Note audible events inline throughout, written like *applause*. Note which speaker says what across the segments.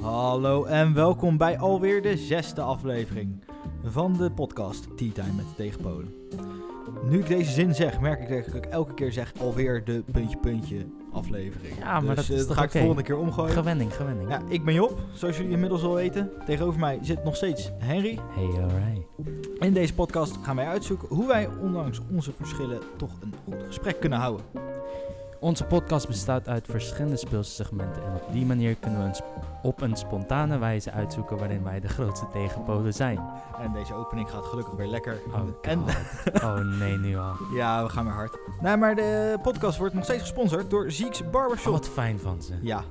Speaker 1: Hallo en welkom bij alweer de zesde aflevering van de podcast Tea Time met Tegenpolen. Nu ik deze zin zeg, merk ik dat ik elke keer zeg alweer de puntje puntje aflevering.
Speaker 2: Ja, maar
Speaker 1: dus,
Speaker 2: dat is
Speaker 1: eh,
Speaker 2: toch
Speaker 1: ga ik
Speaker 2: oké?
Speaker 1: de volgende keer omgooien.
Speaker 2: Gewenning, gewenning.
Speaker 1: Ja, ik ben Job, zoals jullie inmiddels al weten. Tegenover mij zit nog steeds Henry.
Speaker 2: Hey, alright.
Speaker 1: In deze podcast gaan wij uitzoeken hoe wij ondanks onze verschillen toch een goed gesprek kunnen houden.
Speaker 2: Onze podcast bestaat uit verschillende speelsegmenten en op die manier kunnen we een sp- op een spontane wijze uitzoeken waarin wij de grootste tegenpolen zijn.
Speaker 1: En deze opening gaat gelukkig weer lekker.
Speaker 2: Oh,
Speaker 1: Oh, en *laughs*
Speaker 2: God. oh nee, nu al. Oh,
Speaker 1: ja, we gaan weer hard. Nou, maar de podcast wordt nog steeds gesponsord door Zieks Barbershop.
Speaker 2: Oh, wat fijn van ze.
Speaker 1: Ja,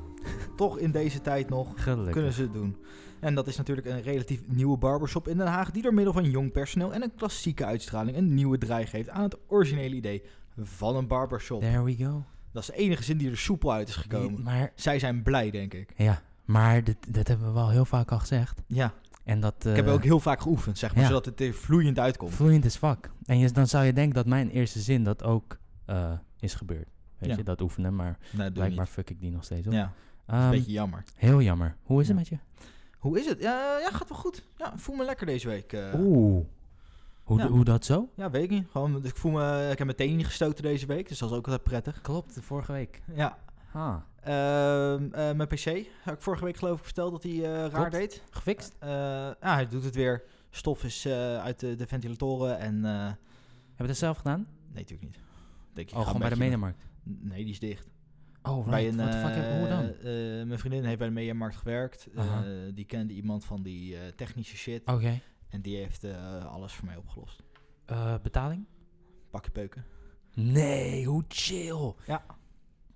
Speaker 1: toch in deze tijd nog kunnen
Speaker 2: Gelukkig.
Speaker 1: ze het doen. En dat is natuurlijk een relatief nieuwe barbershop in Den Haag, die door middel van jong personeel en een klassieke uitstraling een nieuwe draai geeft aan het originele idee van een barbershop.
Speaker 2: There we go.
Speaker 1: Dat is de enige zin die er soepel uit is
Speaker 2: Die-
Speaker 1: gekomen.
Speaker 2: Maar,
Speaker 1: Zij zijn blij, denk ik.
Speaker 2: ja, maar dit, dat hebben we wel heel vaak al gezegd.
Speaker 1: Ja,
Speaker 2: En dat
Speaker 1: ik heb
Speaker 2: eh,
Speaker 1: ook heel vaak geoefend, zeg maar,
Speaker 2: ja.
Speaker 1: zodat het er vloeiend uitkomt.
Speaker 2: vloeiend is vak. En je, dan zou je denken dat mijn eerste zin dat ook eh, is gebeurd. Weet
Speaker 1: Ja.
Speaker 2: je, dat oefenen, maar
Speaker 1: Nee, Nou, doe ik niet.
Speaker 2: blijkbaar fuck ik die nog steeds op.
Speaker 1: Ja,
Speaker 2: Ehm,
Speaker 1: beetje jammer.
Speaker 2: Heel jammer. Hoe is het
Speaker 1: Ja.
Speaker 2: met je?
Speaker 1: Hoe is het? Ja, ja, gaat wel goed. Ja, ik voel me lekker deze week. eh.
Speaker 2: Oeh. Hoe,
Speaker 1: Ja.
Speaker 2: hoe dat zo?
Speaker 1: Ja, weet ik niet. Gewoon, ik voel me, ik heb meteen niet gestoten deze week, dus dat is ook altijd prettig.
Speaker 2: Klopt, vorige week.
Speaker 1: Ja,
Speaker 2: Ha.
Speaker 1: Ehm, eh, mijn PC. Had ik vorige week geloof ik verteld dat hij eh, raar
Speaker 2: Klopt.
Speaker 1: deed.
Speaker 2: Gefixt?
Speaker 1: Eh, ja, hij doet het weer. Stof is eh, uit de, de ventilatoren en... eh,
Speaker 2: Hebben we dat zelf gedaan?
Speaker 1: nee, natuurlijk niet. Denk, ik
Speaker 2: Oh,
Speaker 1: ga
Speaker 2: gewoon
Speaker 1: een
Speaker 2: bij de
Speaker 1: beetje-
Speaker 2: Mediamarkt.
Speaker 1: Nee, die is dicht.
Speaker 2: Oh,
Speaker 1: Bij een,
Speaker 2: right. What the fuck,
Speaker 1: eh,
Speaker 2: heb- hoe dan?
Speaker 1: eh, mijn vriendin heeft bij de Mediamarkt gewerkt. Eh,
Speaker 2: Aha. Oh.
Speaker 1: die kende iemand van die eh, technische shit.
Speaker 2: Oké.
Speaker 1: En die heeft eh, alles voor mij opgelost.
Speaker 2: Eh, betaling?
Speaker 1: Pakje peuken.
Speaker 2: Nee, hoe chill.
Speaker 1: Ja.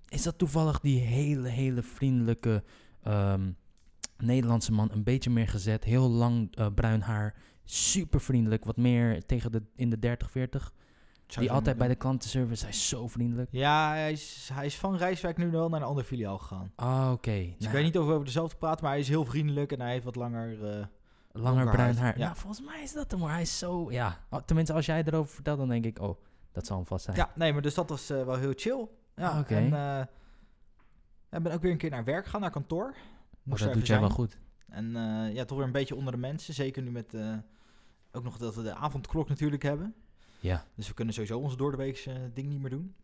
Speaker 2: Is dat toevallig die hele, hele vriendelijke ehm, Nederlandse man? Een beetje meer gezet, heel lang eh, bruin haar. Super vriendelijk, wat meer tegen de, in de 30, 40.
Speaker 1: Zou
Speaker 2: Die
Speaker 1: zo
Speaker 2: altijd bij de
Speaker 1: moeten.
Speaker 2: klantenservice, hij is zo vriendelijk.
Speaker 1: Ja, hij is, hij is van Rijswijk nu wel naar een ander filiaal gegaan.
Speaker 2: Ah, oké.
Speaker 1: Dus
Speaker 2: Nou,
Speaker 1: ik weet niet of we over dezelfde praten, maar hij is heel vriendelijk en hij heeft wat langer... eh,
Speaker 2: Langer
Speaker 1: Donker
Speaker 2: bruin
Speaker 1: haar.
Speaker 2: haar.
Speaker 1: Ja.
Speaker 2: Nou, volgens mij is dat hem, maar hij is zo... Ja, Oh, tenminste, als jij erover vertelt, dan denk ik... Oh, dat zal hem vast zijn.
Speaker 1: Ja, nee, maar dus dat was eh, wel heel chill. Ja,
Speaker 2: Ah, oké.
Speaker 1: En eh, ja, ik ben ook weer een keer naar werk gegaan, naar kantoor.
Speaker 2: maar
Speaker 1: er
Speaker 2: Oh, dat
Speaker 1: even
Speaker 2: doet jij
Speaker 1: zijn.
Speaker 2: wel goed.
Speaker 1: En eh, ja, toch weer een beetje onder de mensen. Zeker nu met eh, ook nog dat we de avondklok natuurlijk hebben.
Speaker 2: Ja,
Speaker 1: Dus we kunnen sowieso ons doordeweekse eh, ding niet meer doen.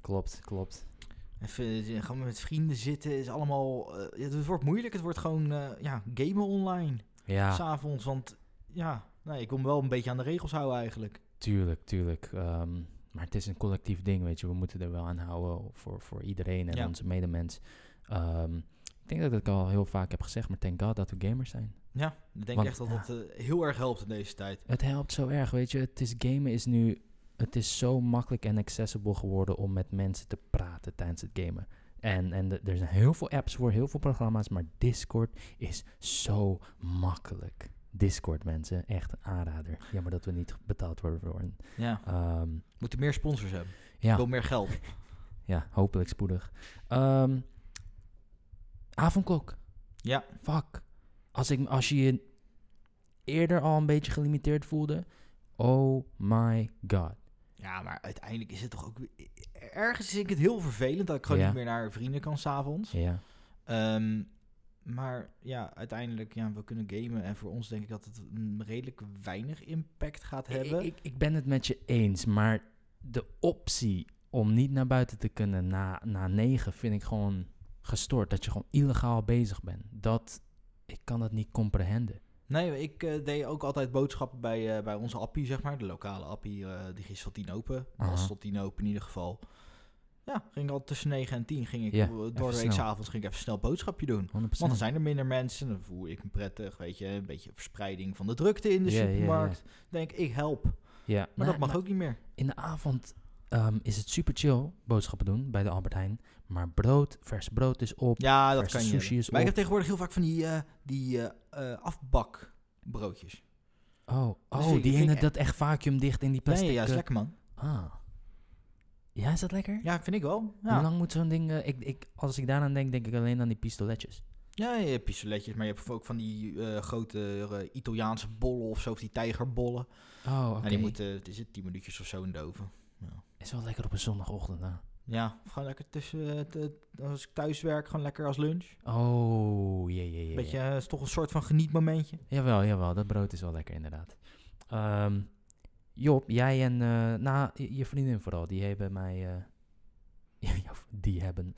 Speaker 2: klopt, klopt.
Speaker 1: Even eh, gaan we met vrienden zitten, is allemaal... eh, ja, het wordt moeilijk, het wordt gewoon eh, ja, gamen online.
Speaker 2: Ja,
Speaker 1: S'avonds, want ja, nee, ik wil me wel een beetje aan de regels houden eigenlijk.
Speaker 2: tuurlijk, tuurlijk. Ehm, maar het is een collectief ding, weet je. We moeten er wel aan houden voor, voor iedereen en
Speaker 1: Ja.
Speaker 2: onze medemens. Ehm, ik denk dat ik al heel vaak heb gezegd, maar thank god dat we gamers zijn.
Speaker 1: Ja, ik denk
Speaker 2: Want,
Speaker 1: echt dat
Speaker 2: ja.
Speaker 1: dat eh, heel erg helpt in deze tijd.
Speaker 2: Het helpt zo erg, weet je. Het is gamen is nu... Het is zo makkelijk en accessible geworden om met mensen te praten tijdens het gamen. En, en de- er zijn heel veel apps voor, heel veel programma's, maar Discord is zo makkelijk. Discord, mensen, echt een aanrader. Jammer dat we niet betaald worden voor een...
Speaker 1: Ja,
Speaker 2: ehm,
Speaker 1: we moeten meer sponsors hebben. Ik
Speaker 2: ja,
Speaker 1: wil meer geld. *laughs*
Speaker 2: ja, hopelijk spoedig. Ehm, avondklok.
Speaker 1: Ja.
Speaker 2: Fuck. Als, ik, als je je eerder al een beetje gelimiteerd voelde, oh my god.
Speaker 1: Ja, maar uiteindelijk is het toch ook... eh, Ergens vind ik het heel vervelend dat ik gewoon
Speaker 2: Ja.
Speaker 1: niet meer naar vrienden kan s'avonds.
Speaker 2: Ja.
Speaker 1: Ehm maar ja, uiteindelijk, ja, we kunnen gamen. En voor ons denk ik dat het een redelijk weinig impact gaat hebben.
Speaker 2: Ik, ik, ik ben het met je eens, maar de optie om niet naar buiten te kunnen na, na negen vind ik gewoon gestoord. Dat je gewoon illegaal bezig bent. Dat, ik kan dat niet comprehenden.
Speaker 1: Nee, ik eh, deed ook altijd boodschappen bij, eh, bij onze appie, zeg maar. De lokale appie, eh, die is tot tien open. Was
Speaker 2: Aha.
Speaker 1: tot tien open in ieder geval. Ja, ging al tussen 9 en 10 ging ik
Speaker 2: Ja,
Speaker 1: eh, door de week
Speaker 2: snel.
Speaker 1: s'avonds ging ik even snel boodschapje doen.
Speaker 2: 100%.
Speaker 1: Want dan zijn er minder mensen, dan voel ik me prettig, weet je. Een beetje verspreiding van de drukte in de
Speaker 2: Ja, ja, ja.
Speaker 1: supermarkt. Denk, ik help. Maar
Speaker 2: ja. Nee,
Speaker 1: dat mag ook niet meer.
Speaker 2: In de avond ehm, is het super chill boodschappen doen bij de Albert Heijn. Maar brood, vers brood is op.
Speaker 1: Ja, dat
Speaker 2: verse
Speaker 1: kan je.
Speaker 2: sushi
Speaker 1: hebben.
Speaker 2: is
Speaker 1: maar ik heb
Speaker 2: op.
Speaker 1: tegenwoordig heel vaak van die, eh, die eh, eh, afbakbroodjes.
Speaker 2: Oh,
Speaker 1: Dus
Speaker 2: oh
Speaker 1: ik-
Speaker 2: die
Speaker 1: ik-
Speaker 2: ene dat echt vacuüm dicht in die plastic.
Speaker 1: Nee, ja, is
Speaker 2: eh,
Speaker 1: lekker man.
Speaker 2: ah. Ja, is dat lekker?
Speaker 1: Ja, vind ik wel. Ja,
Speaker 2: Hoe lang moet zo'n ding... eh, ik, ik, als ik daaraan denk, denk ik alleen aan die pistoletjes.
Speaker 1: ja je hebt pistoletjes, maar je hebt ook van die eh, grote eh, Italiaanse bollen of zo, of die tijgerbollen.
Speaker 2: Oh, oké.
Speaker 1: En die moeten, het is het, 10 minuutjes of zo in de oven.
Speaker 2: Is wel lekker op een zondagochtend, hè?
Speaker 1: Ja, of gewoon lekker tussen, eh, te- als ik thuis werk, gewoon lekker als lunch.
Speaker 2: Oh, jee, jee, jee.
Speaker 1: Beetje, eh, is toch een soort van genietmomentje.
Speaker 2: Jawel, jawel, dat brood is wel lekker inderdaad. Ehm, Job, jij en eh, nou, je je vriendin vooral, die hebben mij. eh, *laughs* ja, jou- die hebben.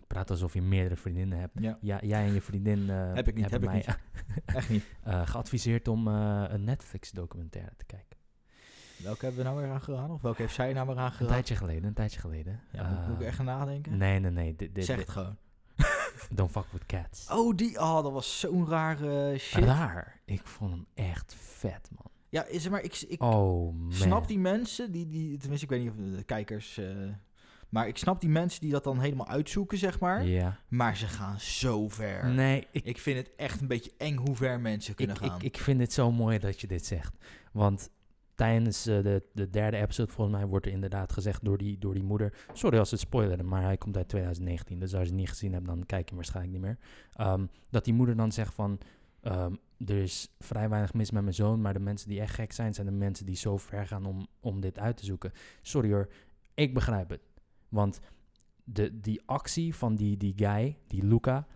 Speaker 2: Ik praat alsof je meerdere vriendinnen hebt.
Speaker 1: Ja.
Speaker 2: Ja, jij en je vriendin eh,
Speaker 1: Heb ik niet,
Speaker 2: hebben
Speaker 1: heb
Speaker 2: mij
Speaker 1: ik *laughs* Echt niet.
Speaker 2: *laughs* eh, geadviseerd om eh, een Netflix-documentaire te kijken.
Speaker 1: Welke hebben we nou weer aangeraden? Of welke heeft zij nou weer
Speaker 2: Een
Speaker 1: aangeraden?
Speaker 2: tijdje geleden, een tijdje geleden.
Speaker 1: Ja, moet, moet ik
Speaker 2: Eh,
Speaker 1: echt gaan nadenken?
Speaker 2: Nee, nee, nee. Dit, dit,
Speaker 1: zeg het
Speaker 2: dit-
Speaker 1: gewoon.
Speaker 2: don't fuck with cats.
Speaker 1: Oh, die. Oh, dat was zo'n rare
Speaker 2: Ah.
Speaker 1: shit.
Speaker 2: Raar. Ik vond hem echt vet, man.
Speaker 1: Ja, is er maar. Ik, ik
Speaker 2: Oh, man.
Speaker 1: snap die mensen die, die. Tenminste, ik weet niet of de kijkers. eh, maar ik snap die mensen die dat dan helemaal uitzoeken, zeg maar.
Speaker 2: Ja.
Speaker 1: Maar ze gaan zo ver.
Speaker 2: Nee, ik,
Speaker 1: Ik vind het echt een beetje eng hoe ver mensen kunnen
Speaker 2: ik,
Speaker 1: gaan.
Speaker 2: Ik, ik vind het zo mooi dat je dit zegt. Want tijdens eh, de, de derde episode, volgens mij, wordt er inderdaad gezegd door die, door die moeder. Sorry als het spoileren, maar hij komt uit 2019. Dus als je het niet gezien hebt, dan kijk je hem waarschijnlijk niet meer. Ehm, dat die moeder dan zegt van. ehm, er is vrij weinig mis met mijn zoon, maar de mensen die echt gek zijn, zijn de mensen die zo ver gaan om, om dit uit te zoeken. Sorry hoor, ik begrijp het. Want de, die actie van die, die guy, die Luca,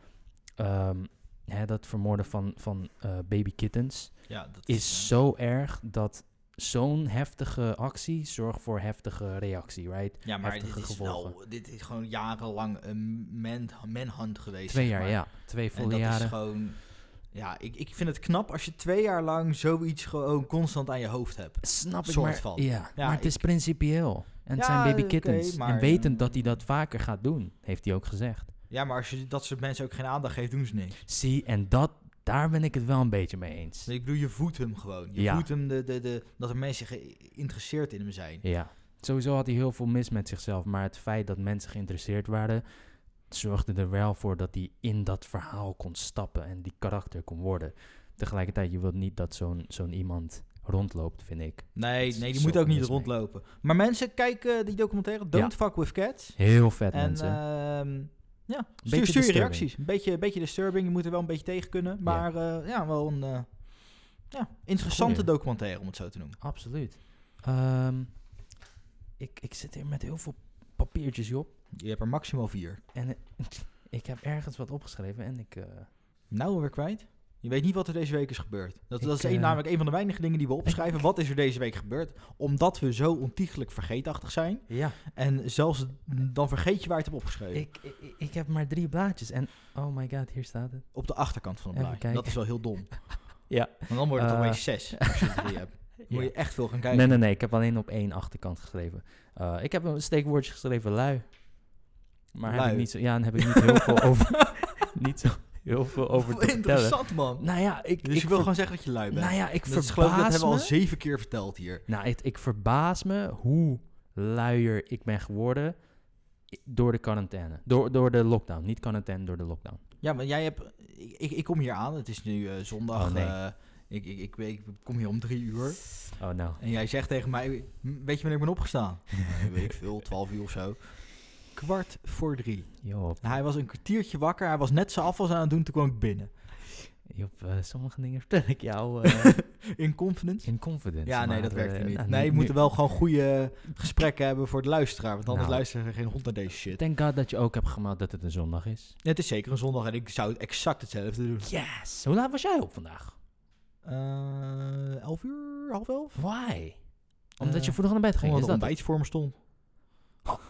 Speaker 2: ehm, hè, dat vermoorden van, van eh, baby kittens,
Speaker 1: ja, dat
Speaker 2: is
Speaker 1: eh,
Speaker 2: zo erg dat zo'n heftige actie zorgt voor heftige reactie, right?
Speaker 1: ja, maar dit
Speaker 2: heftige
Speaker 1: is,
Speaker 2: gevolgen.
Speaker 1: wel, dit is gewoon jarenlang een man, manhunt geweest.
Speaker 2: Twee
Speaker 1: zeg
Speaker 2: jaar,
Speaker 1: maar.
Speaker 2: ja. Twee
Speaker 1: En
Speaker 2: volle
Speaker 1: dat is
Speaker 2: jaren.
Speaker 1: gewoon... Ja, ik, ik vind het knap als je twee jaar lang zoiets gewoon constant aan je hoofd hebt.
Speaker 2: Snap ik,
Speaker 1: soort
Speaker 2: maar,
Speaker 1: van.
Speaker 2: Ja,
Speaker 1: Ja,
Speaker 2: maar het is principieel. En
Speaker 1: Ja,
Speaker 2: het zijn baby
Speaker 1: oké,
Speaker 2: kittens. en
Speaker 1: maar,
Speaker 2: wetend
Speaker 1: eh,
Speaker 2: dat hij dat vaker gaat doen, heeft hij ook gezegd.
Speaker 1: Ja, maar als je dat soort mensen ook geen aandacht geeft, doen ze niks.
Speaker 2: Zie, en dat, daar ben ik het wel een beetje mee eens.
Speaker 1: Ik bedoel, je voedt hem gewoon. Je
Speaker 2: Ja.
Speaker 1: voedt hem de, de, de, dat er mensen geïnteresseerd in hem zijn.
Speaker 2: Ja, sowieso had hij heel veel mis met zichzelf. Maar het feit dat mensen geïnteresseerd waren, zorgde er wel voor dat hij in dat verhaal kon stappen en die karakter kon worden. Tegelijkertijd, je wilt niet dat zo'n zo'n iemand rondloopt, vind ik.
Speaker 1: Nee,
Speaker 2: Dat
Speaker 1: nee
Speaker 2: is
Speaker 1: die moet
Speaker 2: zo
Speaker 1: ook niet
Speaker 2: mis mee.
Speaker 1: rondlopen. Maar mensen, kijk eh, die documentaire Don't Fuck With Cats.
Speaker 2: Heel vet,
Speaker 1: En
Speaker 2: mensen.
Speaker 1: ehm, ja,
Speaker 2: Beetje
Speaker 1: stuur, stuur je
Speaker 2: disturbing.
Speaker 1: reacties. Een beetje, beetje disturbing, je moet er wel een beetje tegen kunnen. Maar ja, ja wel een eh, ja, interessante
Speaker 2: Goeie.
Speaker 1: documentaire, om het zo te noemen.
Speaker 2: Absoluut. Ehm, ik, ik zit hier met heel veel papiertjes, Job.
Speaker 1: Je hebt er maximaal vier.
Speaker 2: En eh, *laughs* ik heb ergens wat opgeschreven en ik... eh,
Speaker 1: Nou alweer kwijt. Je weet niet wat er deze week is gebeurd. Dat,
Speaker 2: Ik,
Speaker 1: dat is een-
Speaker 2: eh,
Speaker 1: namelijk een van de weinige dingen die we opschrijven. Wat is er deze week gebeurd? Omdat we zo ontiegelijk vergeetachtig zijn.
Speaker 2: ja,
Speaker 1: En zelfs dan vergeet je waar je het hebt opgeschreven.
Speaker 2: ik, ik, ik heb maar drie blaadjes en... Oh my god, hier staat het.
Speaker 1: Op de achterkant van het
Speaker 2: Even
Speaker 1: blaadje.
Speaker 2: kijken.
Speaker 1: Dat is wel heel dom.
Speaker 2: Ja.
Speaker 1: Want dan wordt het
Speaker 2: Eh,
Speaker 1: opeens zes als je er drie
Speaker 2: *laughs*
Speaker 1: hebt. Dan moet
Speaker 2: Ja.
Speaker 1: je echt veel gaan
Speaker 2: Nee,
Speaker 1: kijken.
Speaker 2: nee, nee. Ik heb alleen op één achterkant geschreven. Eh, ik heb een steekwoordje geschreven, lui. Maar heb ik
Speaker 1: Lui.
Speaker 2: niet zo, ja, dan heb ik niet heel veel over,
Speaker 1: *laughs*
Speaker 2: niet zo heel veel over te vertellen.
Speaker 1: Interessant, man.
Speaker 2: Nou ja, ik,
Speaker 1: dus
Speaker 2: ik
Speaker 1: je wil
Speaker 2: ver-
Speaker 1: gewoon zeggen dat je lui bent.
Speaker 2: nou ja, ik
Speaker 1: dat, is geloof ik, dat
Speaker 2: verbaas
Speaker 1: hebben we al
Speaker 2: me.
Speaker 1: zeven keer verteld hier.
Speaker 2: Nou, het, ik verbaas me hoe luier ik ben geworden i- door de quarantaine, door, door de lockdown, niet quarantaine, door de lockdown.
Speaker 1: Ja, maar jij hebt... Ik, ik, ik kom hier aan. Het is nu eh, zondag.
Speaker 2: Oh, nee.
Speaker 1: eh, ik, ik, ik, ik kom hier om drie uur.
Speaker 2: Oh nou.
Speaker 1: En jij zegt tegen mij, "M, weet je wanneer ik ben *laughs* opgestaan? Eh, weet ik veel, twaalf uur of zo. Kwart voor drie. Nou,
Speaker 2: Job,
Speaker 1: Hij was een kwartiertje wakker, hij was net zijn afwas aan het doen, toen kwam ik binnen.
Speaker 2: Job eh, sommige dingen vertel ik
Speaker 1: *laughs*
Speaker 2: jou eh,
Speaker 1: In confidence?
Speaker 2: in confidence.
Speaker 1: Ja, nee,
Speaker 2: maar,
Speaker 1: dat werkt
Speaker 2: eh,
Speaker 1: hier niet.
Speaker 2: nou,
Speaker 1: Nee, we
Speaker 2: nu-
Speaker 1: moeten wel gewoon goede gesprekken hebben voor de luisteraar, want anders
Speaker 2: Nou.
Speaker 1: luisteren er geen hond naar deze shit.
Speaker 2: Thank God dat je ook hebt gemeld dat het een zondag is.
Speaker 1: Het is zeker een zondag en ik zou het exact hetzelfde doen.
Speaker 2: Yes! Hoe laat was jij op vandaag?
Speaker 1: Eh elf uur, half elf?
Speaker 2: Why? Omdat
Speaker 1: Eh,
Speaker 2: je vroeg naar bed ging,
Speaker 1: Omdat
Speaker 2: is
Speaker 1: er
Speaker 2: dat
Speaker 1: ontbijt voor me stond.
Speaker 2: het?
Speaker 1: *laughs*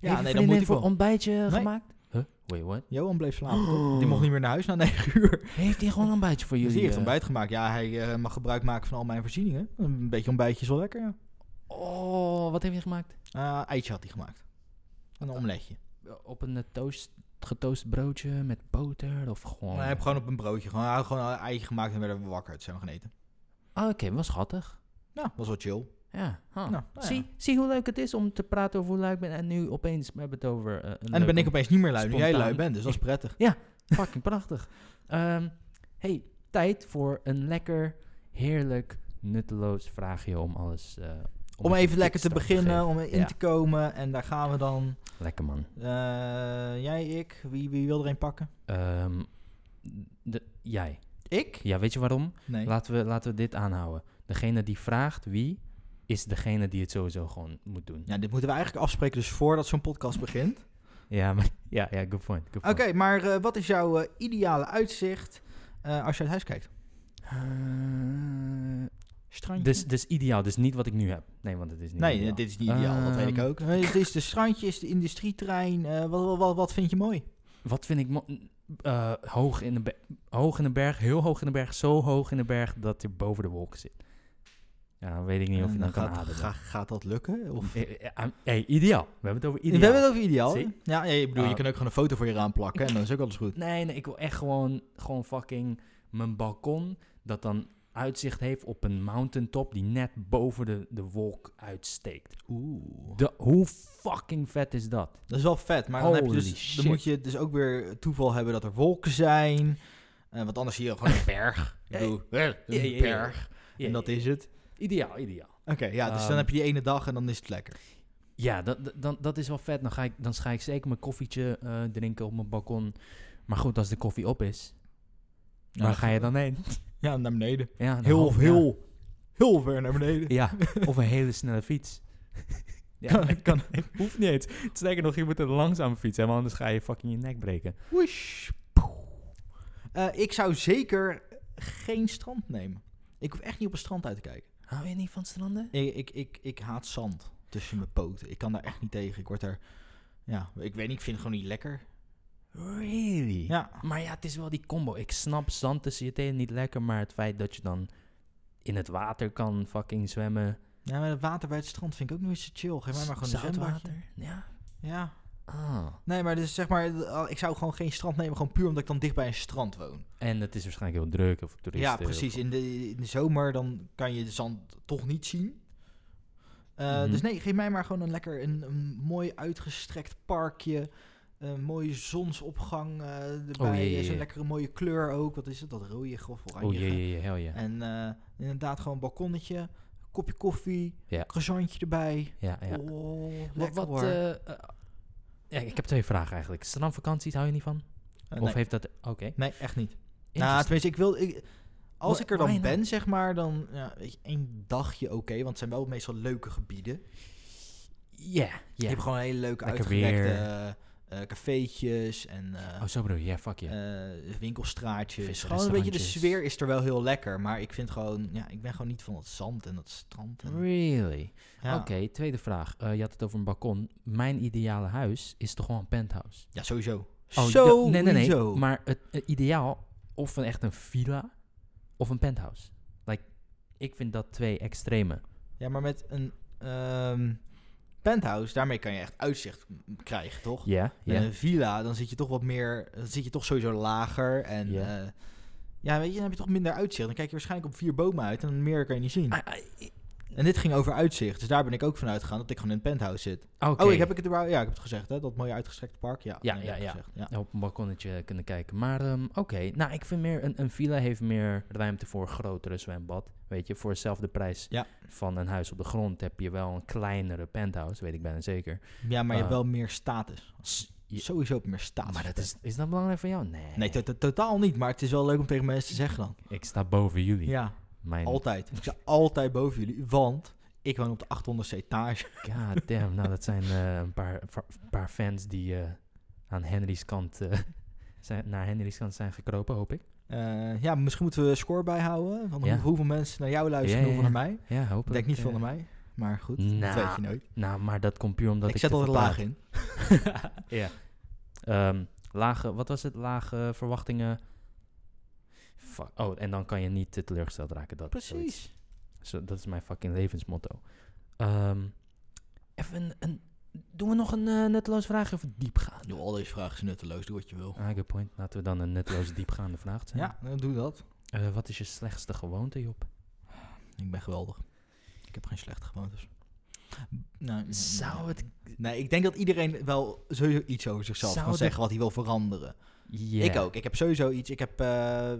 Speaker 1: Ja,
Speaker 2: Heeft je
Speaker 1: nee, dan
Speaker 2: vriendin
Speaker 1: moet ik
Speaker 2: voor
Speaker 1: wel.
Speaker 2: ontbijtje eh,
Speaker 1: Nee.
Speaker 2: gemaakt? Huh? Wait, what?
Speaker 1: Johan bleef
Speaker 2: Oh.
Speaker 1: slapen, toch? Die mocht niet meer naar huis na negen *laughs* uur.
Speaker 2: Heeft hij gewoon een ontbijtje voor
Speaker 1: Dus
Speaker 2: jullie?
Speaker 1: die heeft
Speaker 2: eh?
Speaker 1: ontbijt gemaakt. Ja, hij eh, mag gebruik maken van al mijn voorzieningen. Een beetje ontbijtje is wel lekker, ja.
Speaker 2: Oh, wat heeft hij gemaakt?
Speaker 1: Eh, eitje had hij gemaakt. Een omeletje.
Speaker 2: Op een eh, toast, getoast broodje met boter of gewoon...
Speaker 1: Hij heeft gewoon op een broodje. Gewoon, hij had gewoon een eitje gemaakt en werden we wakker. Het zijn we gaan eten.
Speaker 2: Ah, oké, was schattig.
Speaker 1: Ja, was wel chill.
Speaker 2: Ja, huh.
Speaker 1: Nou, nou ja.
Speaker 2: zie, zie hoe leuk het is om te praten over hoe lui ik ben. En nu opeens we hebben we het over... eh, een
Speaker 1: En dan ben
Speaker 2: leuke-
Speaker 1: ik opeens niet meer lui. Nu jij
Speaker 2: spontaan.
Speaker 1: lui bent, dus dat is prettig.
Speaker 2: Fucking prachtig. Ehm, hey, tijd voor een lekker, heerlijk, nutteloos vraagje om alles... eh,
Speaker 1: Om
Speaker 2: het
Speaker 1: even
Speaker 2: een
Speaker 1: lekker te
Speaker 2: kickstart
Speaker 1: beginnen,
Speaker 2: geven.
Speaker 1: om in
Speaker 2: Ja.
Speaker 1: te komen. En daar gaan we dan.
Speaker 2: Lekker man.
Speaker 1: Eh, jij, ik. Wie, wie wil er een pakken?
Speaker 2: Ehm, de, jij.
Speaker 1: Ik?
Speaker 2: Ja, weet je waarom?
Speaker 1: Nee.
Speaker 2: Laten we, laten we dit aanhouden. Degene die vraagt wie, is degene die het sowieso gewoon moet doen.
Speaker 1: Ja, dit moeten we eigenlijk afspreken dus voordat zo'n podcast begint.
Speaker 2: *laughs* Ja, maar, ja, ja good point. good
Speaker 1: Oké,
Speaker 2: point.
Speaker 1: maar eh, wat is jouw eh, ideale uitzicht eh, als je uit huis kijkt?
Speaker 2: Eh,
Speaker 1: Strandje?
Speaker 2: dus, dus ideaal, dus niet wat ik nu heb. Nee, want het is niet
Speaker 1: nee,
Speaker 2: ideaal.
Speaker 1: eh, dit is niet ideaal, dat weet ik
Speaker 2: Ehm,
Speaker 1: ook. Eh, Het is de strandje, is de industrieterrein. eh, wat, wat, wat, wat vind je mooi?
Speaker 2: Wat vind ik mo- eh, hoog, in de be- hoog in de berg, heel hoog in de berg, zo hoog in de berg dat je boven de wolken zit. Ja, dan weet ik niet of je
Speaker 1: Eh,
Speaker 2: dan kan
Speaker 1: gaat,
Speaker 2: ademen.
Speaker 1: ga- gaat dat lukken? Of?
Speaker 2: Eh, eh, eh, hey, ideaal. We hebben het over ideaal.
Speaker 1: We hebben het over ideaal.
Speaker 2: Zie?
Speaker 1: Ja, ja, ik bedoel, je
Speaker 2: Ah.
Speaker 1: kan ook gewoon een foto voor je raam plakken en dan is ook alles goed.
Speaker 2: Nee, nee, ik wil echt gewoon, gewoon fucking mijn balkon dat dan uitzicht heeft op een mountaintop die net boven de, de wolk uitsteekt.
Speaker 1: Oeh.
Speaker 2: De, hoe fucking vet is dat?
Speaker 1: Dat is wel vet, maar dan, heb je
Speaker 2: Holy
Speaker 1: dus, dan
Speaker 2: shit.
Speaker 1: moet je dus ook weer toeval hebben dat er wolken zijn. Eh, want anders zie je gewoon
Speaker 2: *laughs*
Speaker 1: een berg. Ik
Speaker 2: Ja,
Speaker 1: bedoel, eh, een
Speaker 2: ja, ja, ja.
Speaker 1: berg.
Speaker 2: Ja,
Speaker 1: En dat
Speaker 2: ja,
Speaker 1: is het.
Speaker 2: Ideaal, ideaal.
Speaker 1: Oké, ja, dus dan
Speaker 2: Ehm,
Speaker 1: heb je die ene dag en dan is het lekker.
Speaker 2: Ja, dat, dat- dan, dat is wel vet. Dan ga ik, dan ga ik zeker mijn koffietje eh, drinken op mijn balkon. Maar goed, als de koffie op is,
Speaker 1: Ja,
Speaker 2: waar ga je dan *laughs* heen?
Speaker 1: Ja, naar beneden.
Speaker 2: Ja, dan
Speaker 1: Heel,
Speaker 2: hop-
Speaker 1: heel, heel ver naar *laughs* beneden.
Speaker 2: *laughs* Ja, ja. of een hele snelle *laughs* fiets.
Speaker 1: Kan- kan-
Speaker 2: hoeft niet eens. Sterker nog, je moet een langzame fiets hebben, anders ga je fucking je nek breken.
Speaker 1: Whoosh, poeh. Eh, ik zou zeker geen strand nemen. Ik hoef echt niet op een strand uit te kijken.
Speaker 2: Hou je niet van stranden?
Speaker 1: Ik, ik, ik, ik haat zand tussen mijn poten. Ik kan daar echt niet tegen. Ik word er... Ja, ik weet niet, ik vind het gewoon niet lekker.
Speaker 2: Really?
Speaker 1: Ja,
Speaker 2: Maar ja, het is wel die combo. Ik snap zand tussen je tenen niet lekker, maar het feit dat je dan in het water kan fucking zwemmen.
Speaker 1: ja maar het water bij het strand vind ik ook nooit zo chill. Geef mij maar gewoon een zwembadje.
Speaker 2: water. Ja.
Speaker 1: Ja.
Speaker 2: Ah.
Speaker 1: Nee, maar dus zeg maar, eh, ik zou gewoon geen strand nemen. Gewoon puur omdat ik dan dicht bij een strand woon.
Speaker 2: En het is waarschijnlijk heel druk of toeristen.
Speaker 1: Ja,
Speaker 2: of-
Speaker 1: precies. In de, in de zomer dan kan je de zand toch niet zien. Eh,
Speaker 2: Mhm.
Speaker 1: Dus nee, geef mij maar gewoon een lekker een, een mooi uitgestrekt parkje. Een mooie zonsopgang eh erbij.
Speaker 2: Oh, jee, jee,
Speaker 1: Zo'n
Speaker 2: jee.
Speaker 1: lekkere mooie kleur ook. Wat is het? Dat rode grof oranje.
Speaker 2: Oh jee, jee, jee, hel ja.
Speaker 1: En eh, inderdaad gewoon een balkonnetje. Kopje koffie.
Speaker 2: Ja.
Speaker 1: Croissantje erbij.
Speaker 2: Ja, ja.
Speaker 1: Oh,
Speaker 2: Wat,
Speaker 1: lekker
Speaker 2: wat,
Speaker 1: hoor.
Speaker 2: eh, eh, ja, ik heb twee vragen eigenlijk. Strandvakanties, hou je niet van?
Speaker 1: Eh,
Speaker 2: Of
Speaker 1: nee.
Speaker 2: heeft dat... Oké.
Speaker 1: nee, echt niet. Nou,
Speaker 2: Interesting.
Speaker 1: tenminste, ik wil. Ik, als
Speaker 2: Wh-
Speaker 1: ik er dan
Speaker 2: why not?
Speaker 1: ben, zeg maar, dan ja, weet je, één dagje oké, want het zijn wel meestal leuke gebieden.
Speaker 2: Ja,
Speaker 1: Je
Speaker 2: ja.
Speaker 1: hebt gewoon hele leuke
Speaker 2: Lekker
Speaker 1: uitgerekte
Speaker 2: weer.
Speaker 1: eh, eh, cafeetjes en eh,
Speaker 2: Oh, zo bedoel je. Ja, fuck je.
Speaker 1: eh, winkelstraatjes.
Speaker 2: Vis-
Speaker 1: Gewoon een beetje de
Speaker 2: restaurantjes.
Speaker 1: sfeer is er wel heel lekker, maar ik vind gewoon, ja, ik ben gewoon niet van het zand en dat strand. En,
Speaker 2: really?
Speaker 1: ja.
Speaker 2: Oké, tweede vraag. Eh, je had het over een balkon. Mijn ideale huis is toch gewoon een penthouse?
Speaker 1: ja, sowieso.
Speaker 2: Oh,
Speaker 1: zo,
Speaker 2: ja, nee, nee, nee. Maar het, eh, ideaal, of een, echt een villa, of een penthouse. Like, ik vind dat twee extreme.
Speaker 1: Ja, maar met een ehm, penthouse, daarmee kan je echt uitzicht m- krijgen, toch?
Speaker 2: Ja,
Speaker 1: Met Oh. een villa, dan zit je toch wat meer, dan zit je toch sowieso lager. En
Speaker 2: Ja.
Speaker 1: eh, ja, weet je, dan heb je toch minder uitzicht. Dan kijk je waarschijnlijk op vier bomen uit en meer kan je niet zien.
Speaker 2: Ah.
Speaker 1: En dit ging over uitzicht, dus daar ben ik ook van uitgegaan dat ik gewoon in een penthouse zit.
Speaker 2: Oké.
Speaker 1: Oh, ik heb ik het überhaupt- ja, ik heb het gezegd, hè? Dat mooie uitgestrekte park. Ja,
Speaker 2: Ja,
Speaker 1: nee, ik heb
Speaker 2: ja,
Speaker 1: het gezegd, ja.
Speaker 2: op een balkonnetje kunnen kijken. Maar ehm, oké, nou ik vind meer een, een villa heeft meer ruimte voor een grotere zwembad. Weet je, voor dezelfde prijs
Speaker 1: Ja.
Speaker 2: van een huis op de grond heb je wel een kleinere penthouse, weet ik bijna zeker.
Speaker 1: Ja, maar je hebt
Speaker 2: Eh,
Speaker 1: wel meer status.
Speaker 2: Je-
Speaker 1: Sowieso op meer status.
Speaker 2: maar dat is, is dat belangrijk voor jou? Nee.
Speaker 1: Nee, to- to- totaal niet, maar het is wel leuk om tegen mensen te zeggen dan.
Speaker 2: ik sta boven jullie.
Speaker 1: Ja,
Speaker 2: Mijn
Speaker 1: altijd. Ik sta altijd boven jullie, want ik woon op de 800ste etage.
Speaker 2: god damn, nou dat zijn eh, een paar, va- paar fans die eh, aan Henry's kant eh, *laughs* zijn, naar Henry's kant zijn gekropen, hoop ik.
Speaker 1: Eh, ja, misschien moeten we een score bijhouden van hoe-
Speaker 2: Ja.
Speaker 1: hoeveel mensen naar jou luisteren en
Speaker 2: Ja, ja,
Speaker 1: hoeveel naar mij.
Speaker 2: Ja, hoop
Speaker 1: Ik eh, denk niet veel naar mij, maar goed, dat
Speaker 2: Nou,
Speaker 1: weet je nooit.
Speaker 2: Nou, maar dat komt puur omdat
Speaker 1: Ik,
Speaker 2: ik
Speaker 1: zet
Speaker 2: te
Speaker 1: altijd
Speaker 2: veel praat.
Speaker 1: laag in. *laughs*
Speaker 2: ja. Ehm, lage, wat was het? Lage verwachtingen. Fuck. Oh, en dan kan je niet eh, teleurgesteld raken. Dat is zoiets.
Speaker 1: Precies.
Speaker 2: Zo, dat is mijn fucking levensmotto. Ehm, even een, een- Doen we nog een eh, nutteloos vraagje of diepgaande?
Speaker 1: Doe al deze vragen is nutteloos, doe wat je wil.
Speaker 2: Ah, good point. Laten we dan een nutteloos diepgaande vraag zijn.
Speaker 1: Ja, dan doe dat.
Speaker 2: Eh, wat is je slechtste gewoonte, Job?
Speaker 1: Ik ben geweldig. Ik heb geen slechte gewoontes. Nou,
Speaker 2: Zou het...
Speaker 1: Nee, ik denk dat iedereen wel sowieso iets over zichzelf
Speaker 2: Zou
Speaker 1: kan
Speaker 2: dit-
Speaker 1: zeggen wat hij wil veranderen.
Speaker 2: Ja.
Speaker 1: Ik ook. Ik heb sowieso iets. Ik heb eh, eh,